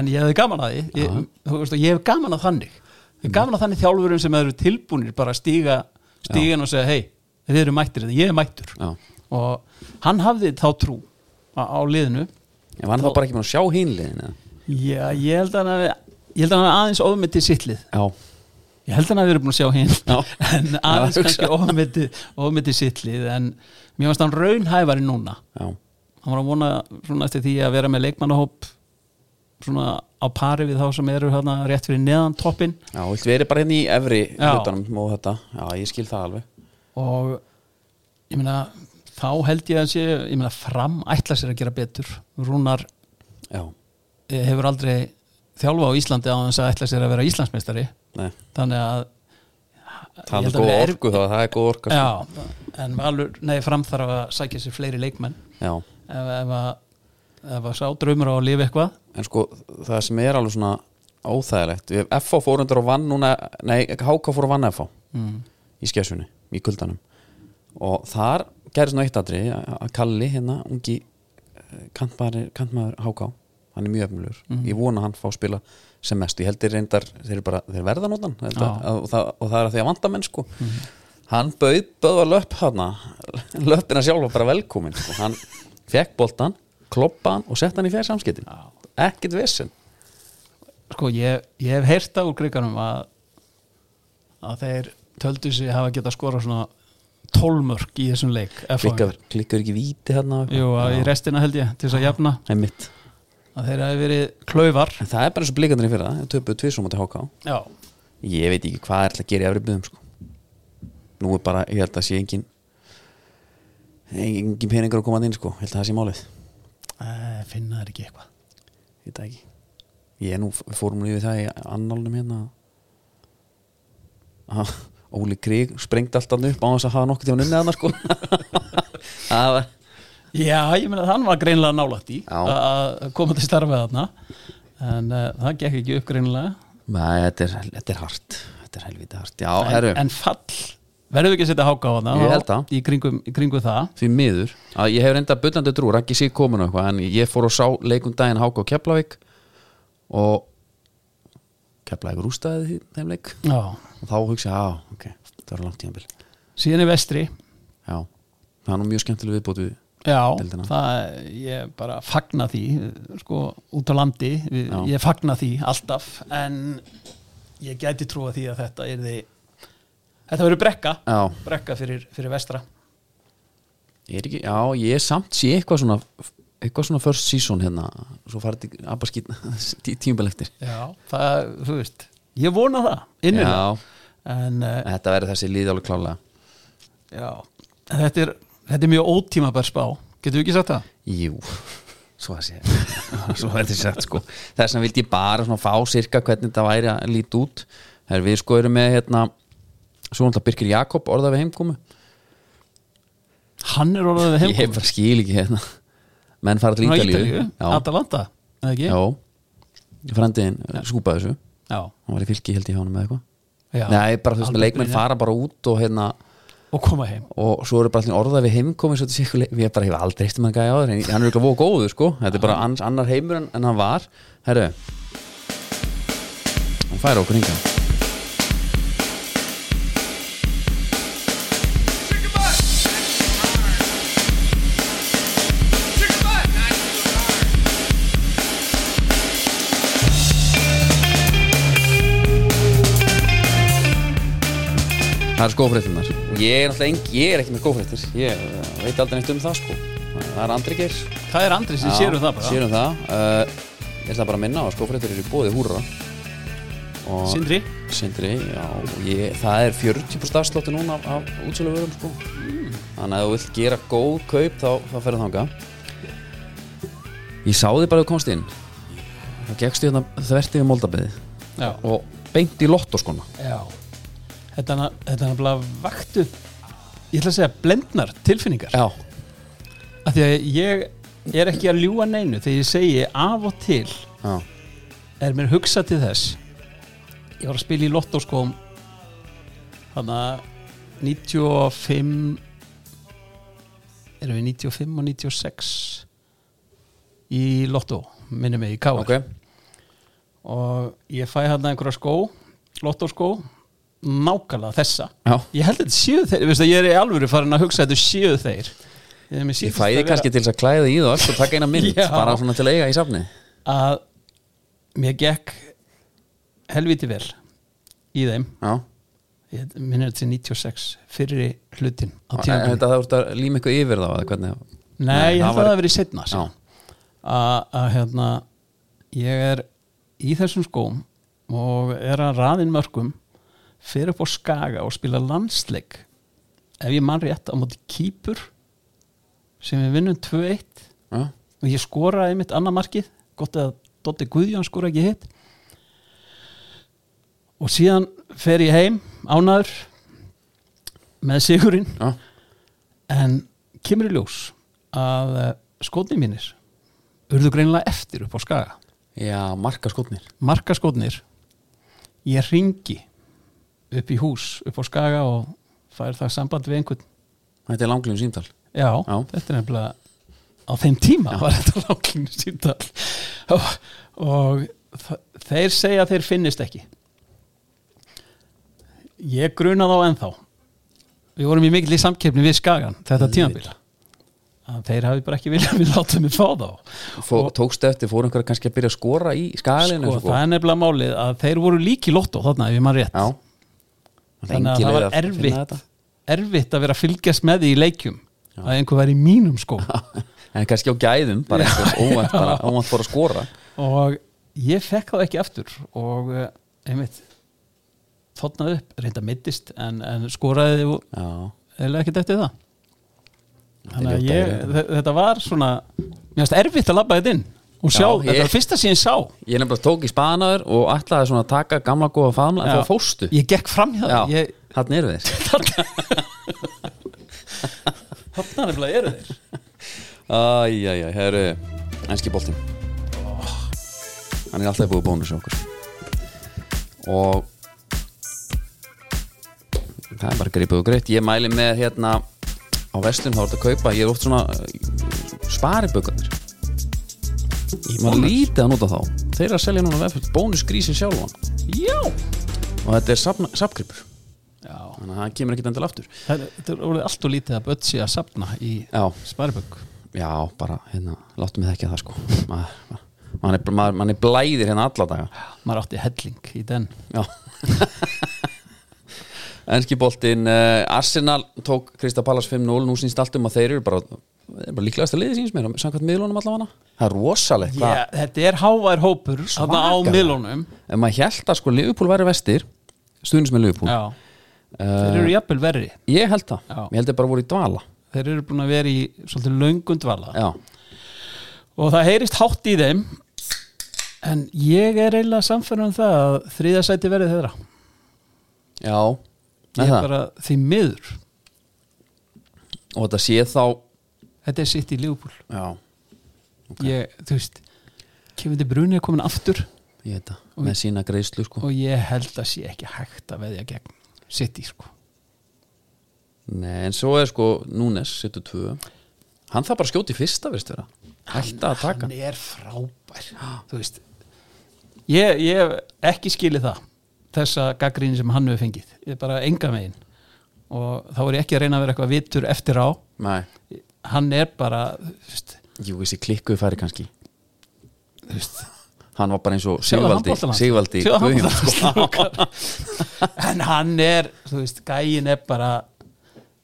Speaker 2: en ég hefði gaman að því ég, þú veist, og ég hef gaman að þannig ég hef gaman að þannig þjálfurum sem eru tilbúnir bara að stíga stígan og segja hei, þið eru mættir, en ég er mættur
Speaker 1: Já.
Speaker 2: og hann hafði þá trú á, á liðinu
Speaker 1: Ég var hann þá bara ekki með að sjá hinliðin
Speaker 2: Já, ég held að hann hafi ég held að hann hafi aðeins ofmetið sittlið
Speaker 1: Já,
Speaker 2: ég held að hann hafi verið búin að sjá hinn
Speaker 1: Já.
Speaker 2: en
Speaker 1: Já,
Speaker 2: aðeins
Speaker 1: hugsa.
Speaker 2: kannski ofmetið ofmetið sittlið en mér varst hann raunhæfari núna
Speaker 1: já,
Speaker 2: hann var að vona svona eftir því að vera með leikmannahóp svona á pari við þá sem eru hérna rétt fyrir neðan toppin
Speaker 1: já, vilt verið bara hérna í efri
Speaker 2: Já.
Speaker 1: hlutunum og þetta Já, ég skil það alveg
Speaker 2: og ég meina þá held ég að sé, ég meina fram ætla sér að gera betur Rúnar
Speaker 1: Já,
Speaker 2: eh, hefur aldrei þjálfa á Íslandi á þess að ætla sér að vera Íslandsmeistari
Speaker 1: nei,
Speaker 2: þannig að
Speaker 1: það
Speaker 2: Ég held
Speaker 1: er
Speaker 2: að
Speaker 1: góð
Speaker 2: við erum-
Speaker 1: orku þá, það er góð orka sko.
Speaker 2: já, en Valur, nei, fram þarf að sækja sér fleiri leikmenn
Speaker 1: já,
Speaker 2: ef, ef, að, ef að sá draumur á að lifa eitthvað
Speaker 1: en sko, það sem er alveg svona óþægilegt Við- FH fórundar og vann núna Nei, HK fór og vann FH
Speaker 2: mm.
Speaker 1: í skessunni, í kuldanum og þar gerði svona eitt aðri að Kalli hérna, ungi eh, kantmaður, kantmaður HK hann er mjög efnilegur,
Speaker 2: Mhm.
Speaker 1: ég vona að hann fá að spila sem mest, ég heldur reyndar þeir, eru bara, þeir verða nótan ah.
Speaker 2: Já. Mhm.
Speaker 1: og, það, og það er að því að vanda menn sko hann bauð, bauð að löpp hana löppina sjálfa bara velkomin sko. hann fekk boltan, kloppa hann og sett hann í fjær samskiptin ekkert vesen
Speaker 2: sko ég, ég hef heyrta úr kriganum að að þeir töldu sig hafa getað skora svona tólmörk í þessum leik FH.
Speaker 1: klikkar, klikkar ekki víti hérna
Speaker 2: Jú, að í restina held ég til þess að jafna
Speaker 1: Einmitt.
Speaker 2: að þeir hafi verið klaufar
Speaker 1: en það er bara eins og blikandarinn fyrir það, töpuðu tvisum á til HK
Speaker 2: Já,
Speaker 1: ég veit ekki hvað er alltaf að gera í efri byðum sko. nú er bara, ég held að sé engin engin peningur að koma þarna inn sko. ég held að það sé málið,
Speaker 2: Æ, Eh, finna þeir ekki eitthvað
Speaker 1: ég veit það ekki ég er nú, við fórum nú yfir það í annálunum hérna að Óli Krík sprengdi alltaf upp á þess að hafa nokkuð tíma unnið hann sko. það var
Speaker 2: Já, ég meina að hann var greinlega nálætt í
Speaker 1: Já.
Speaker 2: að að koma til starfið þarna en uh, það gekk ekki upp greinlega
Speaker 1: Nei, þetta er, þetta er hart þetta er helviti hart, já,
Speaker 2: en,
Speaker 1: herru
Speaker 2: en fall, verðum við ekki að setja háka á þarna
Speaker 1: Ég held það.
Speaker 2: í kringum, í kringum það
Speaker 1: því miður að ég hef reynda bullandi trú, Raggi sé komin og eitthvað en ég fór og sá leikum daginn Háka og Keflavík og Keflavík rústaði því þeim leik
Speaker 2: Já,
Speaker 1: og þá hugsa ég, já, ok, það var langt tímabil
Speaker 2: síðan í vestri
Speaker 1: já, það er nú mjög skemmtileg viðbót við
Speaker 2: Já,
Speaker 1: Deildina.
Speaker 2: það, ég bara fagna því sko, út á landi við,
Speaker 1: Já.
Speaker 2: ég fagna því alltaf en ég gæti trúa því að þetta er því þetta verður brekka
Speaker 1: já,
Speaker 2: brekka fyrir, fyrir vestra
Speaker 1: ég er ekki, já, ég er samt sé eitthvað svona eitthvað svona first season hérna svo farið til abba skýt tímabil eftir
Speaker 2: Já, það, þú veist ég vona það, innilega
Speaker 1: já,
Speaker 2: en uh,
Speaker 1: þetta verður þessi líði alveg klálega
Speaker 2: já, þetta er, þetta er mjög ótímabær spá getur við ekki sagt það?
Speaker 1: Jú, svo að sé Svo er þetta sett sko Þess vegna vildi ég bara svona fá sirka hvernig þetta væri að líti út Þegar við sko erum með hérna Svo náttúrulega Birkir Jakob orða við heimkomu
Speaker 2: Hann er orðað við
Speaker 1: Ég
Speaker 2: heimkomin
Speaker 1: bara skil ekki hérna Menn fara til
Speaker 2: Hann er á
Speaker 1: Ítalíu Já,
Speaker 2: Atalanta, eða ekki?
Speaker 1: já Frendiðin skúpaði þessu
Speaker 2: já,
Speaker 1: Hann var í fylki held ég hjá hann með eitthvað
Speaker 2: já.
Speaker 1: Nei, bara þú veist
Speaker 2: Alveg
Speaker 1: með leikmenn
Speaker 2: brilliant.
Speaker 1: fara bara út og hérna
Speaker 2: og koma heim
Speaker 1: og svo eru bara allir orða við heimkomi svo þetta sé eitthvað leik- við erum bara, ég hef aldrei eftir maður gæja áður en hann er eitthvað voða góður sko þetta er bara annars, annar heimur en, en hann var herru hann færa okkur hingað það er skófréttinnar ég er alltaf engi, ég er ekki með skófréttir ég eh, veit aldrei neitt um það sko það er andri geir
Speaker 2: Það er Andri sem sérum það bara
Speaker 1: sérum það uh, ég ætla bara að minna á að skófréttir eru bóði húra og
Speaker 2: Sindri
Speaker 1: Sindri, já, og ég, það er 40% afslótti núna af, af útsöluvörum sko. Þannig að ef þú vilt gera góð kaup þá, þá ferðu þanga Ég sá þig bara að þú komst inn Það gekkstu hérna þverti við moldabeði
Speaker 2: Já,
Speaker 1: og beint í lottoskona
Speaker 2: Já Þetta er na- þetta er nefnilega vaktu Ég ætla að segja blendnar tilfinningar
Speaker 1: Já,
Speaker 2: Af því að ég er ekki að ljúga neinu Þegar ég segi af og til
Speaker 1: já,
Speaker 2: Er mér hugsað til þess Ég var að spila í sko, um, lottóskóm Þannig að 95 Erum við 95 og 96 Í lottó Minnum mig í káar
Speaker 1: ok
Speaker 2: Og ég fæ hann einhverja skó Lottóskó Nákvæmlega þessa
Speaker 1: Já,
Speaker 2: Ég held að þetta séu þeir, veistu, ég er í alvöru farin að hugsa að þetta séu þeir Ég, er með
Speaker 1: ég
Speaker 2: síðast
Speaker 1: fæði
Speaker 2: að
Speaker 1: kannski til þess að klæða í það öll og taka eina mynd,
Speaker 2: Já.
Speaker 1: bara svona til að eiga í safni
Speaker 2: vera að mér gekk helviti vel í þeim
Speaker 1: Já,
Speaker 2: ég minna þetta er 96 fyrri hlutin á
Speaker 1: þetta
Speaker 2: tíma
Speaker 1: það voru að líma eitthvað yfir þá eða hvernig
Speaker 2: Nei, ég held að
Speaker 1: var-
Speaker 2: það hafi verið setna
Speaker 1: Já,
Speaker 2: að hérna ég er í þessum skóm og er að raðin mörgum fyrir upp á skaga og spila landsleik ef ég man rétt á móti kýpur sem við vinnum 2-1
Speaker 1: já,
Speaker 2: og ég skoraði mitt annað markið gott að Dotti Guðjón skora ekki hitt og síðan fer ég heim ánaður með sigurinn
Speaker 1: já
Speaker 2: en kemur í ljós að skotni mínir urðu greinilega eftir upp á skaga
Speaker 1: Já, marka skotnir
Speaker 2: marka skotnir ég ringi upp í hús upp á skaga og fær það samband við einhvern
Speaker 1: Þetta er langlífum síntal
Speaker 2: Já,
Speaker 1: Já.
Speaker 2: þetta er nefnilega á þeim tíma var þetta láglínu síndal og, og þa- þeir segja að þeir finnist ekki ég gruna þá ennþá við vorum í mikill í samkeppni við Skagan þetta tímabila að þeir hafi bara ekki viljað að við láta mig fá þá
Speaker 1: Fó, tókstu eftir, fór einhverja kannski að byrja að skora í skagalinu
Speaker 2: sko, það er nefnilega málið að þeir voru líki lotto þarna ef ég maður rétt
Speaker 1: Já
Speaker 2: þannig að
Speaker 1: Engin
Speaker 2: það
Speaker 1: leið
Speaker 2: var
Speaker 1: að finna
Speaker 2: erfitt
Speaker 1: þetta.
Speaker 2: erfitt að vera að fylgjast með því í leikjum að einhver væri í mínum sko
Speaker 1: En kannski á gæðum, bara eitthvað óvænt bara, óvænt bara að skora
Speaker 2: og ég fekk það ekki aftur og eh, einmitt þotnaði upp, reynda mittist en, en skoraði
Speaker 1: Já,
Speaker 2: eða ekkert eftir það þannig að
Speaker 1: ljótt að
Speaker 2: ég,
Speaker 1: heyra þetta.
Speaker 2: þe- þetta var svona mér finnst erfitt að labba þetta inn og sjá,
Speaker 1: Já, ég-
Speaker 2: þetta var fyrsta sem ég sá
Speaker 1: ég nefnilega tók í spanaður og ætlaði svona að taka gamla góða faðmla en
Speaker 2: Já.
Speaker 1: það fóstu
Speaker 2: ég gekk fram hjá
Speaker 1: Já,
Speaker 2: það ég,
Speaker 1: þarna eru þeir
Speaker 2: þarna nefnilega eru þeir
Speaker 1: Æjæjæ, herru, enski boltinn Hann er alltaf búið bónus í okkur Og Það er bara gripið og greitt Ég mæli með hérna á vestlun þá er þetta að kaupa Ég er oft uh, svona sparibökandir maður lítið að nota þá þeir eru að selja núna vefnfjöld bónusgrísin sjálfan
Speaker 2: já,
Speaker 1: og þetta er safna- safngripur
Speaker 2: já.
Speaker 1: þannig að það kemur ekkit endal aftur
Speaker 2: Það, þetta er orðið allt og lítið að bötsi að safna í
Speaker 1: já,
Speaker 2: Sparibögg
Speaker 1: já, bara hérna, láttu mig þekkja það sko maður, maður, er- maður, maður er blæðir hérna alla daga
Speaker 2: maður átti helling í den
Speaker 1: já Enski boltinn, uh, Arsenal tók Krista Pallas 5-0, nú sínst allt um að þeir eru bara, þeir eru bara líklegasta liðið síns mér samkvæmt miðlunum allavega það er rosalegt hvað-
Speaker 2: yeah, þetta er hávær hópur þarna á
Speaker 1: Svakalega.
Speaker 2: milónum
Speaker 1: ef maður held að sko Liverpool væri vestir stuðnins með Liverpool Eh,
Speaker 2: Já, þeir eru jafnvel verri
Speaker 1: ég held það,
Speaker 2: Já.
Speaker 1: ég held þeir bara voru í dvala
Speaker 2: þeir eru búin að vera í svolítið löngundvala
Speaker 1: Já,
Speaker 2: og það heyrist hátt í þeim en ég er eiginlega samferð um það að þriðasæti verið þeirra
Speaker 1: já
Speaker 2: ég
Speaker 1: er
Speaker 2: er
Speaker 1: það.
Speaker 2: bara því miður
Speaker 1: Og þetta sé þá
Speaker 2: þetta er sitt í Liverpool
Speaker 1: Já,
Speaker 2: ég, þú veist, kemur þetta brunni að komin aftur
Speaker 1: ég veit það, með sína greiðslu sko
Speaker 2: og ég held að sé ekki hægt að veðja gegn sitt í sko
Speaker 1: Nei, en svo er sko Núnes, setur tvö Hann þarf bara að skjóti fyrsta, veist vera Hætta að taka
Speaker 2: hann er frábær þú veist ég, ég hef ekki skilið það þessa gaggrín sem hann hefur fengið ég er bara enga megin og þá er ég ekki að reyna að vera eitthvað vitur eftir á
Speaker 1: Nei,
Speaker 2: hann er bara þú veist,
Speaker 1: jú, þessi klikkuði færi kannski
Speaker 2: þú veist,
Speaker 1: Hann var bara eins og
Speaker 2: sjáðu
Speaker 1: Sigvaldi
Speaker 2: handboltaland.
Speaker 1: Sigvaldi sko.
Speaker 2: Sjáðu
Speaker 1: Guðjón
Speaker 2: handboltaland, strákar. en hann er þú veist, gæin er bara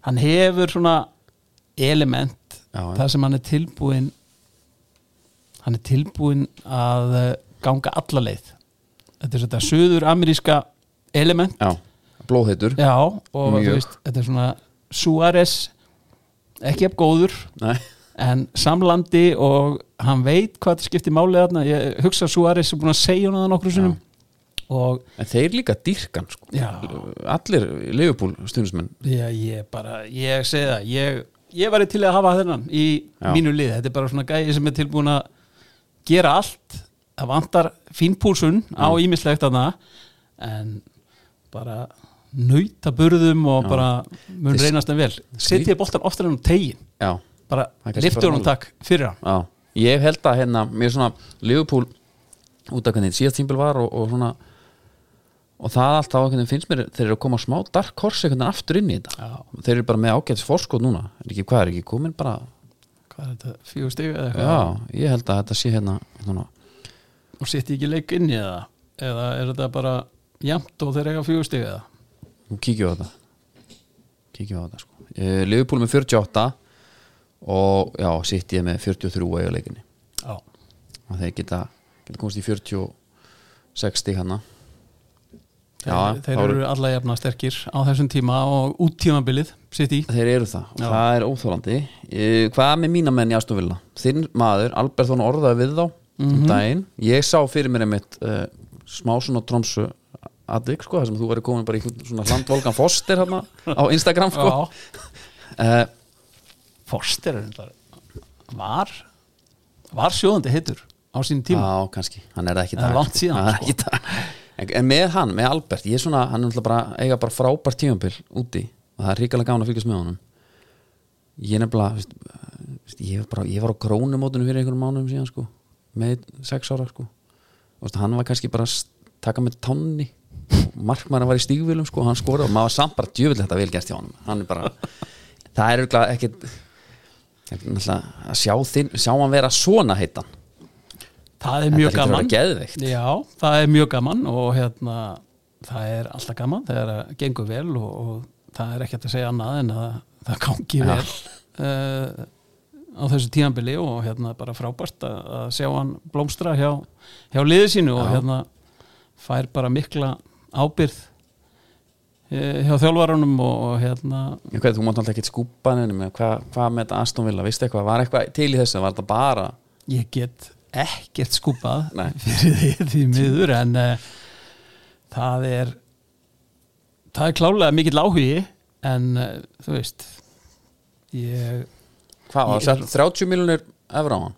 Speaker 2: hann hefur svona element
Speaker 1: Já, já.
Speaker 2: þar sem hann er tilbúin hann er tilbúin að eh, ganga alla leið þetta er svona söður ameríska element
Speaker 1: Já, blóðheitur
Speaker 2: já, og
Speaker 1: Mjög.
Speaker 2: þú veist, þetta er svona Suárez ekki ef góður
Speaker 1: Nei,
Speaker 2: en samlandi og hann veit hvað það skiptir máli þarna ég hugsa að Suárez er búin að segja hún að það nokkru sinnum og
Speaker 1: en þeir líka dýrkan sko
Speaker 2: Já.
Speaker 1: Allir Liverpool stuðnismenn
Speaker 2: já, ég bara, ég segi það ég, ég væri til að hafa þennan í
Speaker 1: Já.
Speaker 2: mínu lið, þetta er bara svona gæði sem er tilbúin að gera allt það vantar fínpúlsun á
Speaker 1: Mm.
Speaker 2: ímislegt þarna en bara nautaburðum og bara mun
Speaker 1: Þess-
Speaker 2: reynast en vel setja boltan oftar enn á tegin
Speaker 1: Já,
Speaker 2: bara
Speaker 1: Það er kannski
Speaker 2: liftur
Speaker 1: bara
Speaker 2: honum
Speaker 1: málið.
Speaker 2: takk fyrir hann
Speaker 1: Já, ég held að hérna mér svona Liverpool út af hvernig síðast tímbil var og, og svona og það allt þá hvernig finnst mér þeir eru að koma smá dark horse einhvern veginn aftur inn í þetta
Speaker 2: Já.
Speaker 1: þeir eru bara með ágætis forskot núna er ekki, hvað er ekki komin bara
Speaker 2: hvað er þetta, fjögur stig eða eitthvað
Speaker 1: já, ég held að þetta sé hérna svona,
Speaker 2: og setja ekki leik inn í það eða er þetta bara jæmt og þeir eiga fjögustig eða
Speaker 1: nú kíkjum við á þetta kíkjum við á þetta sko uh, Liverpool með 48 og já, sitt ég með 43 eiga leikinni
Speaker 2: já,
Speaker 1: og þeir geta, geta komast í 46 stík hana
Speaker 2: þeir,
Speaker 1: Já,
Speaker 2: þeir
Speaker 1: þá
Speaker 2: eru
Speaker 1: eru-
Speaker 2: alla jafna sterkir á þessum tíma og út tímabilið sitt í
Speaker 1: Þeir eru það og
Speaker 2: Já.
Speaker 1: það er óþólandi Hvað með mína menn í Astonvilla? Þinn maður, Albert Þón orðaði við þá
Speaker 2: Mhm.
Speaker 1: um daginn, ég sá fyrir mér einmitt uh, smá svona trómsu aðvik sko, þar sem þú væri komin bara í einhvern svona landvolgan foster hérna á Instagram sko
Speaker 2: já,
Speaker 1: uh,
Speaker 2: Forster er þetta var var sjóðandi hittur á sínum tíma
Speaker 1: Já, kannski, hann er það ekki í
Speaker 2: Það er
Speaker 1: dag,
Speaker 2: langt
Speaker 1: sko.
Speaker 2: síðan,
Speaker 1: Hann er
Speaker 2: sko.
Speaker 1: ekki í dag. en, en með hann, með Albert, ég er svona hann er náttúrulega bara, eiga bara frábært tímabil úti og það er ríkalega gána að fylgjast með honum ég nefnilega veist, veist, ég, var bara, ég var á krónumótinu fyrir einhverjum mánuðum síðan sko, með sex ára sko. og veist, hann var kannski bara að taka með tánni markmann var í stígvílum sko, hann skoraði og maður var samt bara djöfull þetta vel gert hjá honum. hann er bara, það er örugglega ekkit ekkit náttúrulega að sjá, þinn, sjá hann vera svona heitan
Speaker 2: það er mjög
Speaker 1: hlýtur að vera
Speaker 2: gaman
Speaker 1: geðveikt.
Speaker 2: já, það er mjög gaman og hérna það er alltaf gaman þegar það gengur vel og, og það er ekkert að segja annað en að það gangi vel uh, á þessu tíðanbili og hérna bara frábært að, að sjá hann blómstra hjá, hjá liði sínu og hérna fær bara mikla ábyrð eh, hjá þjálfarunum og, og hérna
Speaker 1: Ég veit, þú mátt alltaf ekkert skúpa hann en hvað hva með þetta Aston Villa, veistu eitthvað var eitthvað til í þessu, var þetta bara
Speaker 2: ég get ekkert skúpað
Speaker 1: Nei.
Speaker 2: fyrir því, því miður en uh, það er það er klálega mikill áhugi en uh, þú veist ég,
Speaker 1: hvað var
Speaker 2: Ég-
Speaker 1: það, 30 miljonir efra á hann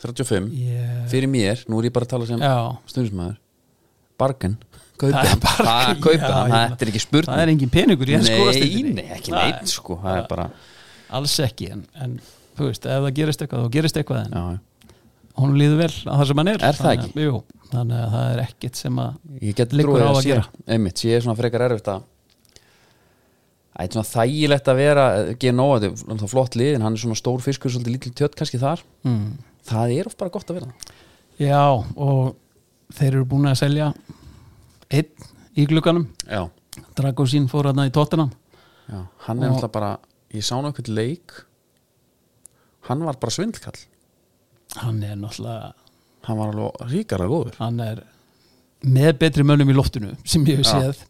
Speaker 1: 35,
Speaker 2: ég
Speaker 1: fyrir mér, nú er ég bara að tala sem
Speaker 2: já,
Speaker 1: stundismæður bargain, kaupa
Speaker 2: Það er
Speaker 1: hann
Speaker 2: bargain,
Speaker 1: það er kaupa
Speaker 2: já,
Speaker 1: hann,
Speaker 2: já.
Speaker 1: það er ekki spurning
Speaker 2: það er engin peningur í ensku úrvalsdeildinni.
Speaker 1: nei, nei, ekki neitt sko það er bara,
Speaker 2: alls ekki en, en þú veist, ef það gerist eitthvað þá gerist eitthvað en
Speaker 1: já,
Speaker 2: hún líður vel að það sem hann er
Speaker 1: Er það
Speaker 2: Þannig að- jú, þannig að það er ekkit sem að
Speaker 1: ég get
Speaker 2: Liggur
Speaker 1: trúið
Speaker 2: á
Speaker 1: að
Speaker 2: að
Speaker 1: sé
Speaker 2: gera.
Speaker 1: einmitt, ég er svona frekar erfitt að Það er svona þægilegt að vera GNO, þetta er náttúrulega flott lið en hann er svona stór fiskur, svolítið lítil tjött kannski þar
Speaker 2: mm.
Speaker 1: það er oft bara gott að vera það.
Speaker 2: já, og þeir eru búin að selja einn í glugganum
Speaker 1: já,
Speaker 2: Dragosín fór hann í tóttinam
Speaker 1: Já, hann er
Speaker 2: Og-
Speaker 1: alltaf bara ég sá nú eitthvað leik hann var bara svindlkall
Speaker 2: hann er náttúrulega
Speaker 1: hann var alveg ríkara góður
Speaker 2: hann er með betri mönnum í loftinu sem ég hef
Speaker 1: Já.
Speaker 2: séð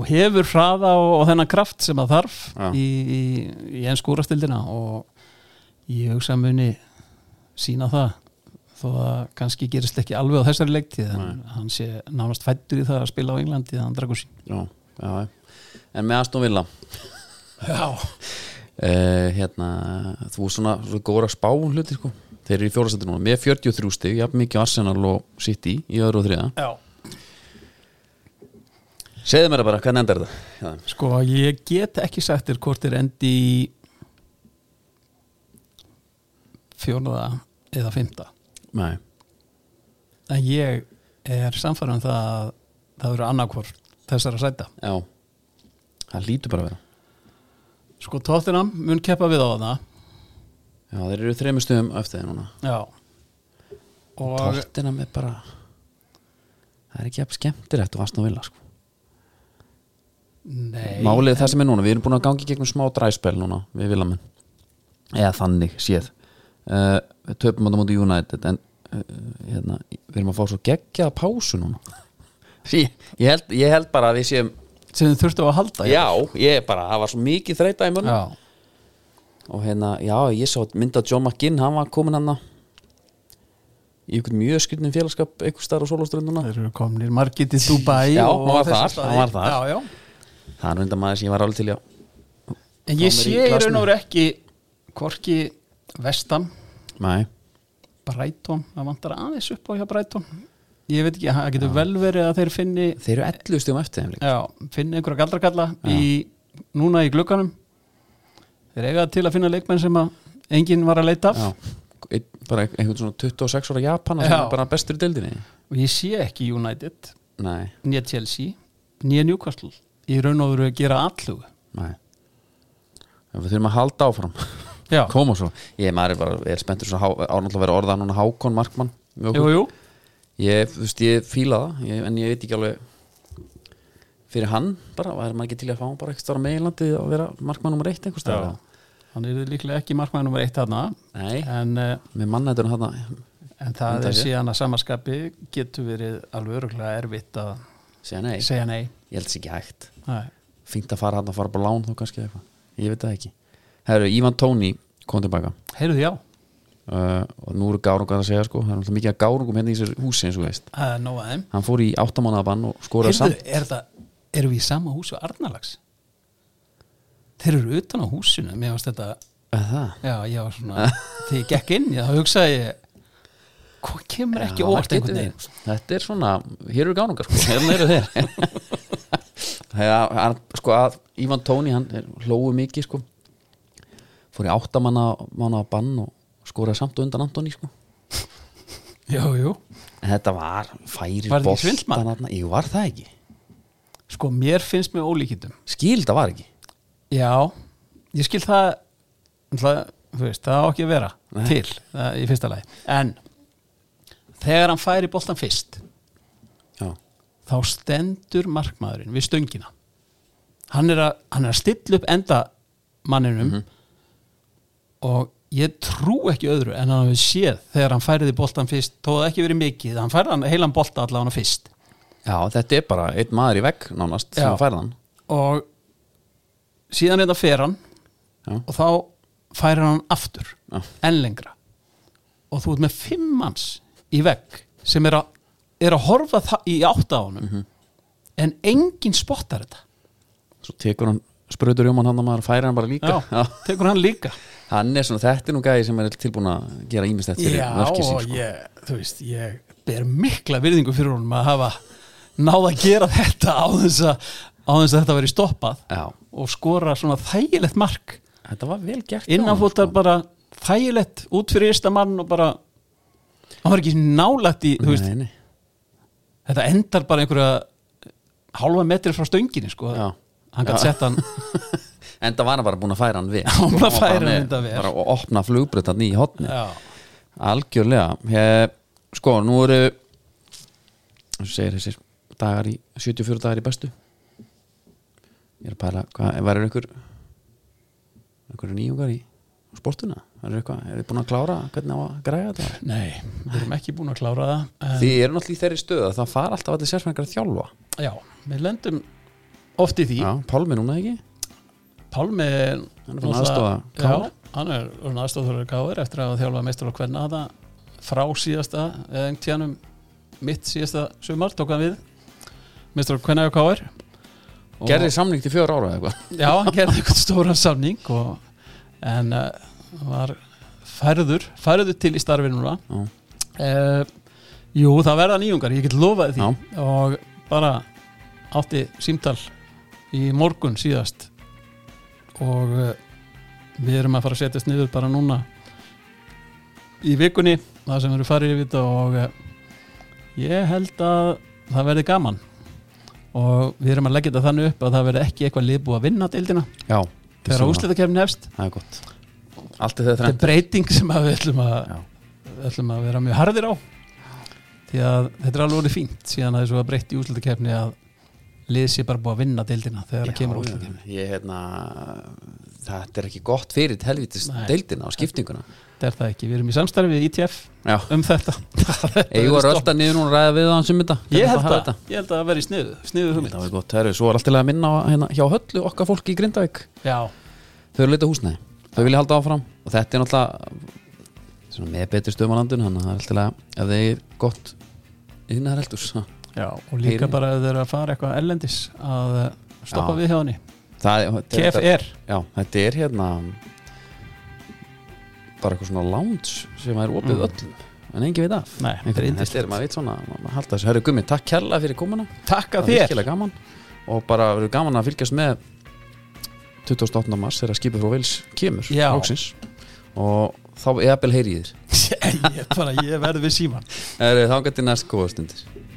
Speaker 2: og hefur hraða og, og þennan kraft sem að þarf
Speaker 1: Já.
Speaker 2: í, í, í enn skúrastildina og ég hugsa að muni sína það þó að kannski gerist ekki alveg á þessari leiktið en hann sé nánast fættur í það að spila á Englandi þannig að dragu sín
Speaker 1: já, já. en með Aston Villa
Speaker 2: Já,
Speaker 1: uh, hérna, þú er svona, svona góður að spá um hluti sko. þeir eru í fjórastætti núna með 43 stig, jafn mikið Arsenal og City í öðru og þriða
Speaker 2: já
Speaker 1: segðu mér það bara, hvernig endar þetta? Já.
Speaker 2: Sko, ég get ekki sagt þér hvort er endi í fjónaða eða fymta
Speaker 1: Nei,
Speaker 2: en ég er samfærum það að það verður annarkvort þessara sæta
Speaker 1: já það lítur bara að vera
Speaker 2: sko tóttinam mun keppa við á þarna
Speaker 1: já, þeir eru þremur stöðum eftir þeir núna
Speaker 2: já og
Speaker 1: Tottenham er bara það er ekki jafn skemmtilegt og Aston Villa sko
Speaker 2: nei
Speaker 1: Málið er það sem er núna, við erum búin að gangi gegnum smá dræspel núna við Villamenn eða þannig séð uh, við töpum á það múti United en uh, hérna, við erum að fá svo geggjaða pásu núna sí, ég, held, ég held bara að við séum
Speaker 2: sem þið þurftu á að halda
Speaker 1: já, ég bara, það var svo mikið þreita í munum
Speaker 2: já.
Speaker 1: og hérna, já, ég sá mynda John McGinn, hann var komin hann í einhvern mjög skrýtnum félagskap einhvers staðar á sólaströnduna
Speaker 2: þeir eru komnir margit í Dubai
Speaker 1: Já,
Speaker 2: og
Speaker 1: hann var
Speaker 2: þessa
Speaker 1: þar,
Speaker 2: staði.
Speaker 1: hann var þar.
Speaker 2: já, já.
Speaker 1: það er reynda maður sem ég var alveg til í að
Speaker 2: en ég
Speaker 1: Komir í
Speaker 2: sé í raun
Speaker 1: glasinu.
Speaker 2: og veru ekki hvorki vestam
Speaker 1: Nei,
Speaker 2: Brighton, það vantar aðeins upp á hjá Brighton ég veit ekki, það getur vel verið að þeir finni
Speaker 1: þeir eru 11 stjum eftir þeim líka
Speaker 2: já, finni einhverja galdrakalla í, núna í glugganum þeir eiga til að finna leikmenn sem að enginn var að leita af
Speaker 1: Já, einn, bara einhvern svona 26 ára Japana sem
Speaker 2: Já.
Speaker 1: er bara bestur í deildinni
Speaker 2: og ég sé ekki United
Speaker 1: Nei,
Speaker 2: nýja Chelsea, nýja Newcastle ég raun og veru að gera allug
Speaker 1: nei En Við þurfum að halda áfram
Speaker 2: já,
Speaker 1: Koma svo Ég maður er bara, ég er spenntur svo ánáttúrulega að vera orðað núna Hákon Markmann með
Speaker 2: jú,
Speaker 1: okkur.
Speaker 2: jú
Speaker 1: Ég, þú veist, ég fíla það ég, En ég veit ekki alveg Fyrir hann bara, væri maður ekki til í að fá hann bara ekki stara meginlandi að vera Markmann nummer eitt einhvers staðar eða?
Speaker 2: hann er líklega ekki markmaður nummer eitt þarna
Speaker 1: Nei,
Speaker 2: en, eh,
Speaker 1: með mannættunum þarna
Speaker 2: en það
Speaker 1: Undan
Speaker 2: er
Speaker 1: sér.
Speaker 2: síðan að samaskapi getur verið alveg öruglega erfitt að
Speaker 1: Segja nei,
Speaker 2: segja nei,
Speaker 1: ég held þess ekki hægt
Speaker 2: nei.
Speaker 1: Fínt að fara hann að fara bara á lán þá kannski eða eitthvað Ég veit það ekki Herru, Ívan Tóni kom tilbaka
Speaker 2: heyrðu já
Speaker 1: uh, og nú eru gárungar að segja sko það er náttúrulega mikið að gárungum hérna í þessu húsi eins og þú veist
Speaker 2: Það er nóg aðeim
Speaker 1: hann fór í áttamánaðabann og
Speaker 2: Heyrðu,
Speaker 1: skoraði samt
Speaker 2: er það, erum við í sama húsi og Arnalags? Þeir eru utan á húsinu Mér varst þetta,
Speaker 1: Er það
Speaker 2: já, ég var svona Þegar ég gekk inn, já, þá hugsaði ég Hvað kemur ekki
Speaker 1: Já,
Speaker 2: óvart
Speaker 1: það
Speaker 2: einhvern
Speaker 1: getur
Speaker 2: veginn
Speaker 1: verið. þetta er svona, hér eru gárungar sko hérna eru þeir Þegar, hann, sko að Ívan Tóni hann er hlóu mikið sko fór fór í áttamanna manna bann og skoraði samt á undan Antoni sko.
Speaker 2: Jú, jú
Speaker 1: en þetta var færir
Speaker 2: Var þetta ekki svindl, maður?
Speaker 1: þarna. Jú, var það ekki
Speaker 2: Sko, mér finnst mér ólíkindum
Speaker 1: skil það var ekki
Speaker 2: Já, ég skil það Það, veist, það á ekki að vera
Speaker 1: Nei.
Speaker 2: til það, í fyrsta lagi En þegar hann færi boltan fyrst
Speaker 1: Já.
Speaker 2: þá stendur markmaðurinn við stöngina hann er að, hann er að stilla upp enda manninum
Speaker 1: Mhm.
Speaker 2: og ég trú ekki öðru en hann hefur séð þegar hann færiði boltan fyrst þó það ekki verið mikið, hann færði hann heilan bolta allavega fyrst
Speaker 1: Já, þetta er bara einn maður í vegg nánast
Speaker 2: Já.
Speaker 1: sem færði hann
Speaker 2: og síðan þetta fer hann
Speaker 1: Já.
Speaker 2: og þá færir hann aftur
Speaker 1: Já.
Speaker 2: enn lengra og þú ert með fimm manns í vegg sem er að, er að horfa það í átt á honum
Speaker 1: Mhm.
Speaker 2: en enginn spottar þetta
Speaker 1: svo tekur hann sprautur jómann hann að maður færir hann bara líka Já.
Speaker 2: tekur hann líka
Speaker 1: hann er svona þetta er nú gæði sem er tilbúin að gera ímislegt fyrir verkið sín
Speaker 2: og
Speaker 1: sko.
Speaker 2: ég, þú veist, ég ber mikla virðingu fyrir honum að hafa náð að gera þetta á þess að, á þess að þetta veri stoppað
Speaker 1: Já.
Speaker 2: og skora svona þægilegt mark
Speaker 1: þetta var vel gert hjá honum, sko.
Speaker 2: innanfóttar bara þægilegt út fyrir ysta mann og bara hann var ekki nálætt í, þú veist
Speaker 1: Nei, nei.
Speaker 2: þetta endar bara einhverja hálfa metri frá stönginni sko
Speaker 1: Já.
Speaker 2: hann gætt sett hann
Speaker 1: en það var hann bara búin að færa hann við
Speaker 2: var búinn að
Speaker 1: Sko,
Speaker 2: færa
Speaker 1: bara
Speaker 2: hann
Speaker 1: með-
Speaker 2: þetta vel.
Speaker 1: bara að opna flugbrötan í hotni
Speaker 2: já,
Speaker 1: Algjörlega Ég, Sko, nú eru þú segir þessir dagar í 74 dagar í bestu Ég er að pæla hvað, verður einhver einhverju nýjungar í sportuna? Verður eitthvað, er þið búin að klára hvernig á að græja þetta?
Speaker 2: nei, við erum ekki búin að klára það en,
Speaker 1: Þið eru náttúrulega í þeirri stöð að það fara alltaf allir sérsmængar að þjálfa
Speaker 2: já, við lendum oft í því,
Speaker 1: Já, Pálmi núna ekki?
Speaker 2: Pálmi hann
Speaker 1: er fann aðstoða KR.
Speaker 2: já, hann er aðstofþórar Káir eftir að þjálfa meistur og hvernig að það frá síðasta, eða einhvern tíðanum mitt síðasta sumar tók hann við meistur og hvernig að Káir
Speaker 1: Gerðið samning til fjögur ára eða eitthvað
Speaker 2: Já, hann gerði eitthvað stóran samning og, en uh, var færður, færður til í starfi núna
Speaker 1: Já.
Speaker 2: uh, Jú, það verða nýjungar, ég get lofaði því og bara átti símtal í morgun síðast og uh, við erum að fara að setjast niður bara núna í vikunni það sem eru farið yfir þetta og uh, ég held að það verði gaman og við erum að leggja þetta þannig upp að það verði ekki eitthvað liðbúið að vinna deildina
Speaker 1: Já,
Speaker 2: þegar
Speaker 1: Svona.
Speaker 2: úslitakefni hefst
Speaker 1: það er gott Allt er þegar
Speaker 2: þetta er
Speaker 1: þrennt
Speaker 2: breyting sem að við ætlum að,
Speaker 1: Já.
Speaker 2: við ætlum að vera mjög harðir á því að þetta er alveg orðið fínt síðan að þessu var breytt í úslitakefni að lið sé bara búið að vinna deildina þegar það kemur úslitakefni
Speaker 1: ég, hérna, þetta er ekki gott fyrir helvitis
Speaker 2: Nei.
Speaker 1: deildina og skiptinguna
Speaker 2: þetta er það ekki, við erum í samstarfi við ITF
Speaker 1: Já.
Speaker 2: um þetta
Speaker 1: Eða var
Speaker 2: sko.
Speaker 1: ölda niður núna að ræða við hann sem þetta
Speaker 2: ég held að, ég held að það verði sniðu, sniðu
Speaker 1: Það
Speaker 2: hugmynd
Speaker 1: var gott, það eru svo er alltaf að minna á hérna, hjá höllu okkar fólki í Grindavík
Speaker 2: já,
Speaker 1: Þau eru leita húsnæði, þau vilja halda áfram og þetta er náttúrulega svona, með betri stöðum á landinu þannig að það er alltaf að ef þeir gott innar heldur
Speaker 2: já, og líka
Speaker 1: Heyri.
Speaker 2: bara ef þeir eru að fara eitthvað ellendis að eh, stoppa
Speaker 1: Já.
Speaker 2: við hjá henni
Speaker 1: það, er- þetta er-
Speaker 2: KFR,
Speaker 1: Já, þetta er hérna bara eitthvað svona lounge sem er opið öllum en engin veit af
Speaker 2: Mm. Nei,
Speaker 1: Einhvern
Speaker 2: þetta er
Speaker 1: veginn,
Speaker 2: yndislegt.
Speaker 1: þetta er, maður veit svona, maður halda þessu Herru Gummi, takk kærlega fyrir komuna
Speaker 2: takk
Speaker 1: Það
Speaker 2: að
Speaker 1: er
Speaker 2: þér
Speaker 1: virkilega gaman og bara verður gaman að fylgjast með 28. mars þegar skipið frá Vils kemur
Speaker 2: Já.
Speaker 1: loksins. og þá eða bel heyri í þér
Speaker 2: ég, bara, ég verði við síman
Speaker 1: Herru, þá gæti næst góða stundir